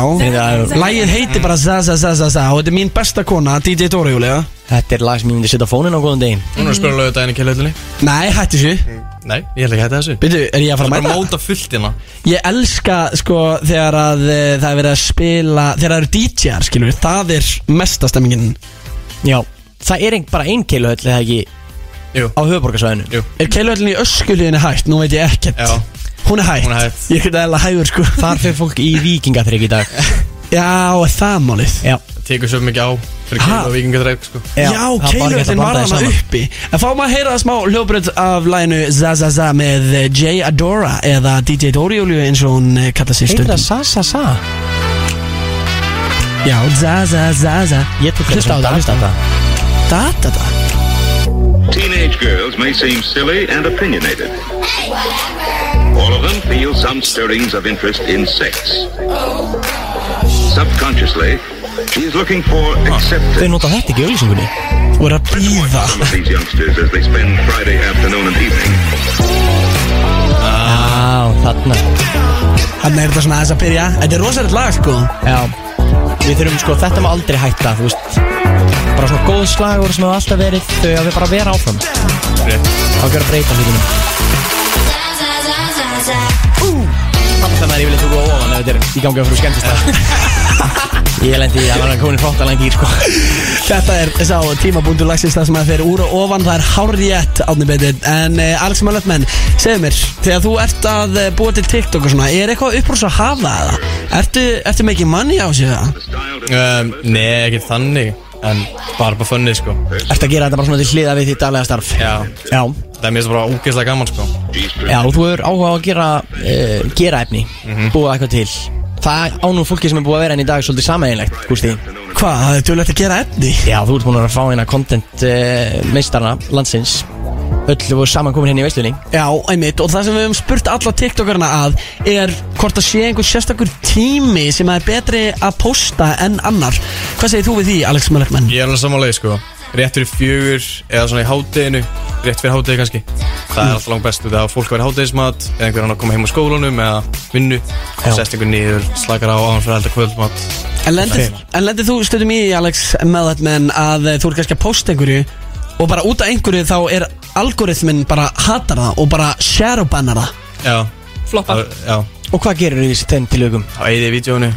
A: lagið heiti bara Za Za Za Za Za Og þetta er mín besta kona, DJ Dóra Júlia
C: Þetta er lag sem ég myndi setja á fónin á góðan degin
L: Hún er að spila lögðu daginn í kjöldutinni
A: Nei, hættu þessu
L: Nei, ég ætla ekki að hætta þessu
A: Býtu, er ég að fara að
L: Það er bara
A: mæta?
L: að móta fullt hérna
A: Ég elska sko þegar að e, það er verið að spila Þegar það eru DJ-ar skilur við Það er mesta stemmingin
C: Já Það er ein, bara ein keiluhöll eða ekki
L: Jú.
C: Á höfuborgarsvæðinu
L: Jú.
A: Er keiluhöllin í öskulíðinni hægt? Nú veit ég ekkert
L: Já.
A: Hún er hægt,
L: Hún er hætt.
A: Ég geta eða hægur sko
C: Þar fyrir fólk í vikingatrygg í dag
A: Já, er það málið
C: Já
L: Tekur svo mikið á Fyrir Keil og Víkingatræk sko.
A: Já, keilurinn var hana uppi En fáum að heyra smá hljóbröð af læginu Zazaza með J. Adora eða DJ Doriolju eins og hún eh, kallar sér
C: Heitir
A: stundum
C: það Zazaza?
A: Já, Zazazaza
C: Ég tók þetta sem Data.
A: Data
M: Teenage girls may seem silly and opinionated. All of them feel some stirrings of interest in sex. Subconsciously, she is looking for acceptance
C: Þau nota þetta ekki í auðlýsingunni Þú er að býða
M: from these youngsters as they spend Friday afternoon and evening.
C: Á, þarna
A: Þannig er þetta svona aðeins að byrja Þetta er rosalegt lag sko
C: Já Við þurfum sko, þetta má aldrei hætta, þú veist Bara svona góð slagur sem hefur alltaf verið Þau að við bara að vera áfram Á að gera að breyta hlutunum Þannig að það er yfirleitt úr og ofan ef þetta er í gangi á fyrir skemmtist (laughs) Ég lendi í að vera komin frótt að langi í sko
A: Þetta er sá tímabúndur lagsins það sem að þeir úr og ofan það er hárjætt átni betur en uh, Alex Mölöfmenn, segðu mér þegar þú ert að eh, búa til TikTok og svona er eitthvað uppbrús að hafa það? Ertu, ertu mikið manni á sig það?
L: um, Nei, ekki þannig En bara bara funnið sko
C: Ertu að gera þetta bara svona til hliða við þitt daglega starf
L: Já,
C: Já.
L: Það er mér svo bara úgeðslega gaman sko
C: Já, og þú hefur áhuga á að gera, uh, gera efni
L: Mhm.
C: Búa eitthvað til Það á nú fólki sem er búið að vera henni í dag svolítið sameinlegt, Gústi
A: Hvað, það er tölvægt að gera efni?
C: Já, þú ert búin að vera að fá hérna content uh, meistarna landsins Öllu voru saman komin henni í veistlunni
A: Já, einmitt, og það sem við höfum spurt alla TikTokarna að er hvort að sé einhver sérstakur tími sem að er betri að posta en annar Hvað segir þú við því, Alex Mölöfmenn?
L: Ég er alveg samanlega sko Rétt fyrir fjögur eða svona í hádeginu Rétt fyrir hádegi kannski Það er alltaf langt best Það er fólk að vera hádegismat Eða einhver annar að koma heim á skólanum Eða vinnu Sest einhver niður Slakar á án fyrir alltaf kvöldmat
A: En lendir, en lendir þú stundum í Alex með þetta menn að þú er kannski að posta einhverju og bara út af einhverju þá er algoritminn bara hatar það og bara shadowbannar það
L: Já Floppa Já
C: Og hvað gerir þú í þeim tilögum?
L: Á eigið í vídjónu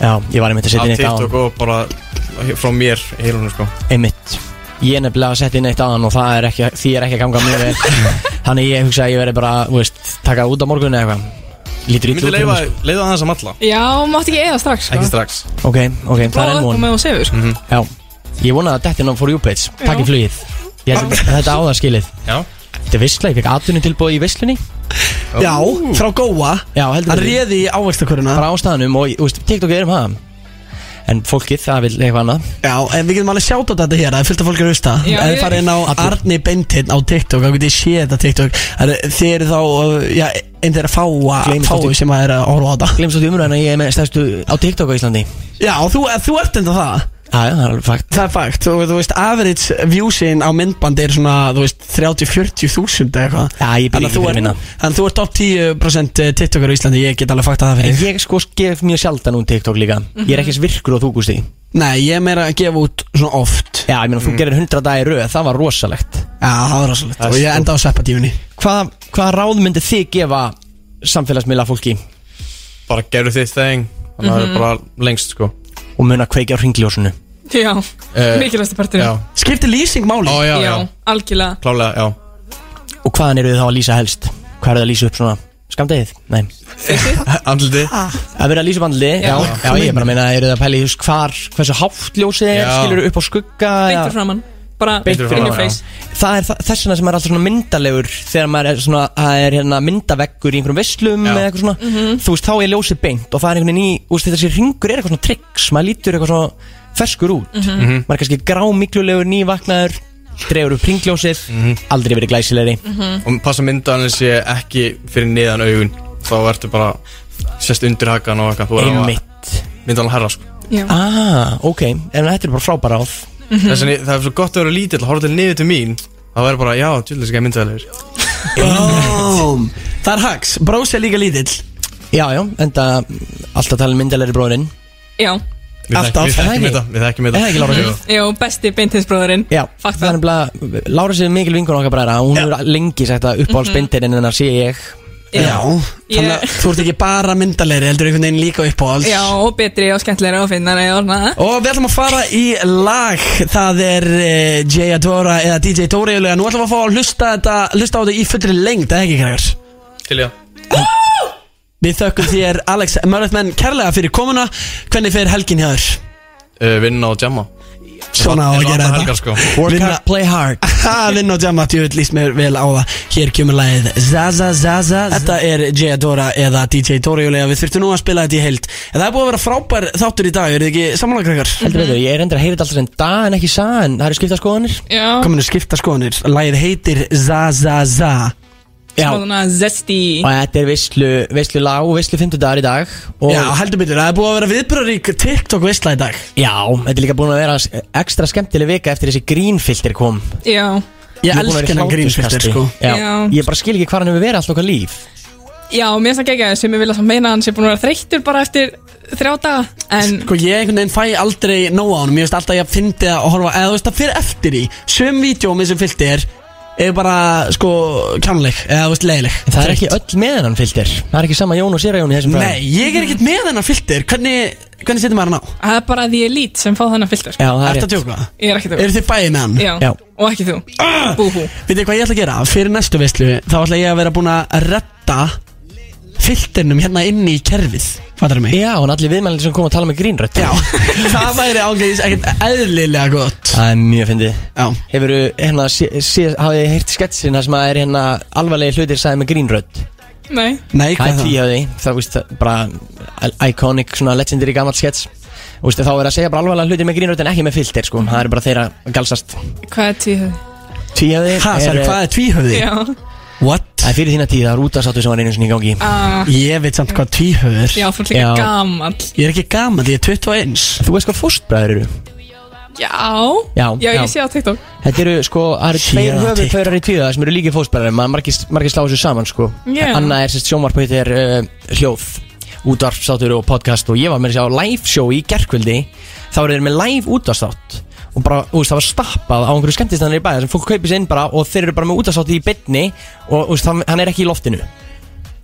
C: Já, ég var einmitt að setja inn eitt
L: Á
C: áðan
L: TikTok og bara Frá mér í heilunum sko
C: Einmitt Ég er nefnilega að setja inn eitt áðan og það er ekki, því er ekki að ganga
L: (laughs)
C: mjög vel Þannig ég hugsa að ég veri bara, þú veist, taka út á morgunni eða eitthvað Lítur
L: Ég
C: ítlu
L: myndi
C: út
L: leifa
C: fyrir mig,
L: Leifa aðeins að matla
B: Já, mátt ekki eða strax sko.
L: Ekki strax
C: sko. Ok, ok, það er
B: Bláða upp og
C: enn von Mm.
B: með og sefur sko.
C: Já, ég vona að dettin á for you page
B: Já.
C: Takk í flugið Ég held að þetta á það skilið
L: Já
C: Þetta er vissla, ég fekk atvinni tilbúið í visslunni
A: Já, frá góa
C: Já, heldur
A: Hann
C: betur.
A: réði í ávægstaköruna
C: Bara ástæðanum og, þú veist, TikTok er um það En fólkið, það vil eitthvað annað
A: Já, en við getum alveg sjátt á þetta hér Það er fullt af fólki að hlusta
B: Já,
A: Ef þið
B: ég-
A: farið inn á
C: Allir.
A: Arni Bentinn á TikTok Þá getið ég séð þetta TikTok Það er- Þið eru þá, uh, já, einn þeirra fáa
C: Gleymist
A: Fáu
C: þetta.
A: sem að er að horfa á þetta
C: Glems átt í umræðan að ég er með stærstu á TikTok á Íslandi
A: Já,
C: Já,
A: þú, þú ert enda það
C: já, það er alveg fakt
A: Það er fakt, þú, þú veist, average viewsin á myndbandi er svona, þú veist, 30-40 þúsund eða eitthvað
C: Já, ég
A: Þannig að
C: byrja ekki
A: þú
C: fyrir
A: er-
C: minna
A: þannig að þú ert top 10% tiktokar á Íslandi, ég get alveg fakt að það
C: En
A: fyrir
C: ég sko gef mjög sjaldan út TikTok líka Ég er ekki eins virkur og þú gústi Já,
A: Nei, ég er meira að gefa út svona oft Já,
C: ég meina þú gerir 100 dagi röð, það var rosalegt
A: það var rosalegt Sko. og ég enda á seppatífunni
C: Hvað, hvað ráð myndi þið gefa samfélagsmiðla fólki
L: Bara gerðu þitt þeng Þannig að það er bara lengst sko
C: og mun að kveikja á ringljósunu?
B: Já,
L: Eh,
B: mikilvægstu
L: Já
B: parturinn
A: Skiptir lýsing máli?
L: Ó, já, já,
B: algjörlega
L: Klálega, já
C: Og hvaðan eru þið þá að lýsa helst? Hvað eru þið að lýsa upp svona? Skamdegið? Nei
L: Andliti
C: Að vera að lýsa upp andli, já, já, ég bara meina eru þið að pæli hvar, hversu hátt ljósið er,
L: Já.
C: skilur upp á skugga eða-
B: Beintur framann Bara
C: Beint
B: in
C: fyrir
B: your
L: framan,
B: face
C: Það er þa- þess vegna sem maður er alltaf svona myndalegur þegar maður er svona, það er hérna myndaveggur í einhverjum veslum
L: Já.
C: eða eitthvað svona þú veist, þá er ljósið beint og það er einhvern veginn í þú veist, þessi ringur er eitthvað svona triks maður lítur eitthvað svona ferskur út maður er kannski grá miklulegur, nývaknaður drefur upp ringljósið aldrei verið glæsilegri
L: Og passa myndaðan sé ekki fyrir niðan augun Þá ertu bara Sest undir hakan og eitthvað Þú verður að
C: einmitt
L: Myndaðan herra sko
B: Já,
C: ah, ok, en þetta er bara frábæra áð
A: Mhm.
L: Þess vegna það er svo gott að vera lítill Horfðu til niður til mín Það verður bara Já, tjóðlega ekki myndaðanlegur
A: Bóm Það er hags, brós er líka lítill
C: já, já, enda alltaf talin myndalegri bróðurinn
B: já,
A: Alltaf, það
L: Við þekkjum
C: ekki?
L: þetta Við þekkjum þetta
C: Er það ekki, Lára?
L: Jú.
B: já besti beintinsbróðurinn
C: Já,
B: Fuck
C: það er nefnilega Lára sér mikil vinkun okkar bræðra Hún hefur lengi sagt að uppáhaldsbindin En þannig sé ég
A: Já, þannig
B: Ég-
A: að þú ert ekki bara myndalegri, heldur einhvern veginn líka upp á alls
B: Já, og betri og skemmtilegri og finnari og orna
A: Og við ætlum að fara í lag Það er uh, J. Adora eða DJ Dóri Nú ætlum við að fá að hlusta, þetta, hlusta á þetta í fullri lengd eða ekki krakkar?
L: Til já
A: Við þökkum þér Alex Mörðmenn kærlega fyrir komuna Hvernig fer helgin hjá þér?
L: Uh, Vinna eh, og jamma
A: Svona á að gera
L: Helgar, sko.
A: þetta Vinna-
C: play hard
A: Ha, Vinna og jamma, djúvill líst mér vel á það Hér kemur lagið Zaza Zaza Þetta er J. Dora eða DJ Tóriulega Við þurftum nú að spila þetta í heild En það er búið að vera frábær þáttur í dag, eru þið ekki samanlagrekar?
C: Heldur betur, ég er endur að heyra þetta alltaf sem dag en ekki sag en það eru skipta skoðanir
B: Já.
A: Kominu skipta skoðanir Lagið heitir Zazaza
C: Já, og
B: Svona zesti
C: þetta er vislu, vislu lag og vislu fymtudagur í dag og
A: Já, heldur betur, það er búið að vera viðbröðurík TikTok veistla í dag
C: Já, þetta er líka búin að vera s- ekstra skemmtileg vika eftir þessi grínfilter kom
B: Já
A: Ég
C: Hún er
A: elska
C: búin að vera í
A: þennan grínfilter,
C: hláturskasti.
A: sko.
C: Já.
B: Já.
C: Ég bara skil ekki hvað hann hefur verið alltaf okkar líf
B: Já, mér finnst það geggjað sem ég vil að meina að hann sé búin að vera þreyttur bara eftir þrjá daga en
A: Sko ég einhvern veginn fæ aldrei nóg á honum Ég veist alltaf ég fyndi það að horfa Eða þú veist það fyrir eftir í Sum vídjómi sem fyllt er Er bara sko kjánleik Eða þú veist leiðileg
C: En það er ekki öll með hann filter Það er ekki sama Jón og Sera Jón í þessum bræðum.
A: Nei, ég er ekkert með hennar filter Hvernig, hvernig setur maður hann á?
B: það er bara því elít sem fá þennan filter sko.
C: Já, það er
A: Ertu að tjóka?
B: Ég er ekki
A: Eru
B: þú
A: þið bæði með hann?
B: Já. og ekki þú
C: Ah!
B: Búhú
A: Vitið hvað ég ætla að gera? Fyrir næstu veislu Þá ætla ég að vera búin að redda Filternum hérna inni í kerfið Fattar mig?
C: Já, hann allir viðmælinn sem kom að tala með grínrött
A: Já, (laughs) það væri ángæðis ekkert eðlilega gott
C: Það er mjög fyndið
A: Já
C: Hefur þú, hérna, sé, sé, hafið þið heyrt sketsin þar sem að er hérna alvarlegi hlutir sagði með grínrött
B: Nei
A: Nei,
C: Það
A: hvað
C: er
A: er það?
C: því að því, það veist, það- bara iconic, svona legendary gammal skets Þú veist, þá er að segja bara alvarlega hlutir með grínrött en ekki með filter, sko Það eru bara þeirra galsast
B: Hvað er tíð?
C: Tvíhöfði
A: Ha, sorry,
C: eh,
A: hvað er tvíhöfði?
B: Já
A: What?
C: Það er fyrir þína tíð, það er útastáttu sem var einu sinni í gangi
B: Ah.
A: Ég veit samt hvað tvíhöfði er
B: Já, þú ert líka
C: Já.
B: gamall
A: Ég er ekki gaman, ég er 21
C: Þú veist hvað fóstbræður eru?
B: Já
C: Já,
B: Já,
C: já.
B: ég sé á TikTok
C: Þetta eru sko, það eru
A: Sér
C: tveir
A: það
C: höfuð
A: TikTok.
C: pörar í tvíða sem eru líki fósbærar maður margir, margir slá þessu saman sko
B: Já.
C: Anna er sérst sjónvarp heitir uh, hljóð útvarpstátur og podcast og ég var með þessi á live show í gerkvöldi þá eru þeir með live útvarpstátt og bara, þú veist, það var stappað á einhverju skemmtistæðanir í bæða sem fólk kaupið sér inn bara og þeir eru bara með útvarpstátt í bytni og þú veist, hann- hann er ekki í loftinu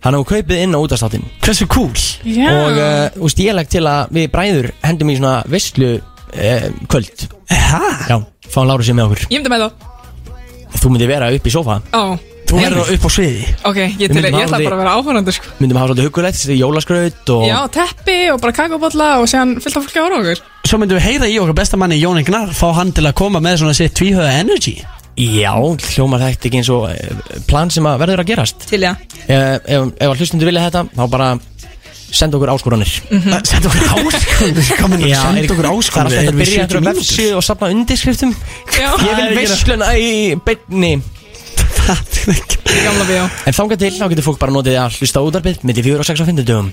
C: hann hefur kaupið inn á útvarpstáttin
A: Hversu cool
B: Já.
C: og uh, þú veist, ég legg til að við bræður hendum í svona visslu uh, kvöld
A: Hæ?
C: Já, fáum Láru sér með okkur
B: Ég myndi með þá
C: Þú myndir vera upp í sófa
B: Ó
A: Þú
B: Ég-
A: verður upp á sviði
B: Ok, ég,
C: Við
B: til,
C: myndum
B: ég ætla
C: aldrei-
B: bara að vera áhverjandi sko.
C: Myndum hafa svolítið hugulegt, þessi jólaskraut og
B: Já, teppi og bara kakabólla og séðan fyllt af fólki ára okkur
A: Svo myndum við heyra í okkar besta manni Jón Egnar Fá hann til að koma með svona sitt tvíhöða energy
C: Já, hljómar þetta ekki eins og eh, plan sem að verður að gerast
B: Til já
C: eh, Ef, ef að hlustundu vilja þetta, þá bara senda okkur áskoranir
A: mm. Senda
C: (laughs)
A: okkur áskonur Komin að
C: Mhm.
A: senda
C: er-
A: okkur áskonur
C: Það er alltaf að byrja
A: eftir
C: eftir
A: (laughs)
C: vefsi og safna undirskriftum
B: Já,
C: Ég vil veisluna í beinni
A: mínútur
B: gamla bíó
C: En þangað til, þá getur fólk bara notið að hlusta á útarbið milli 4 og 6 og 5 dögum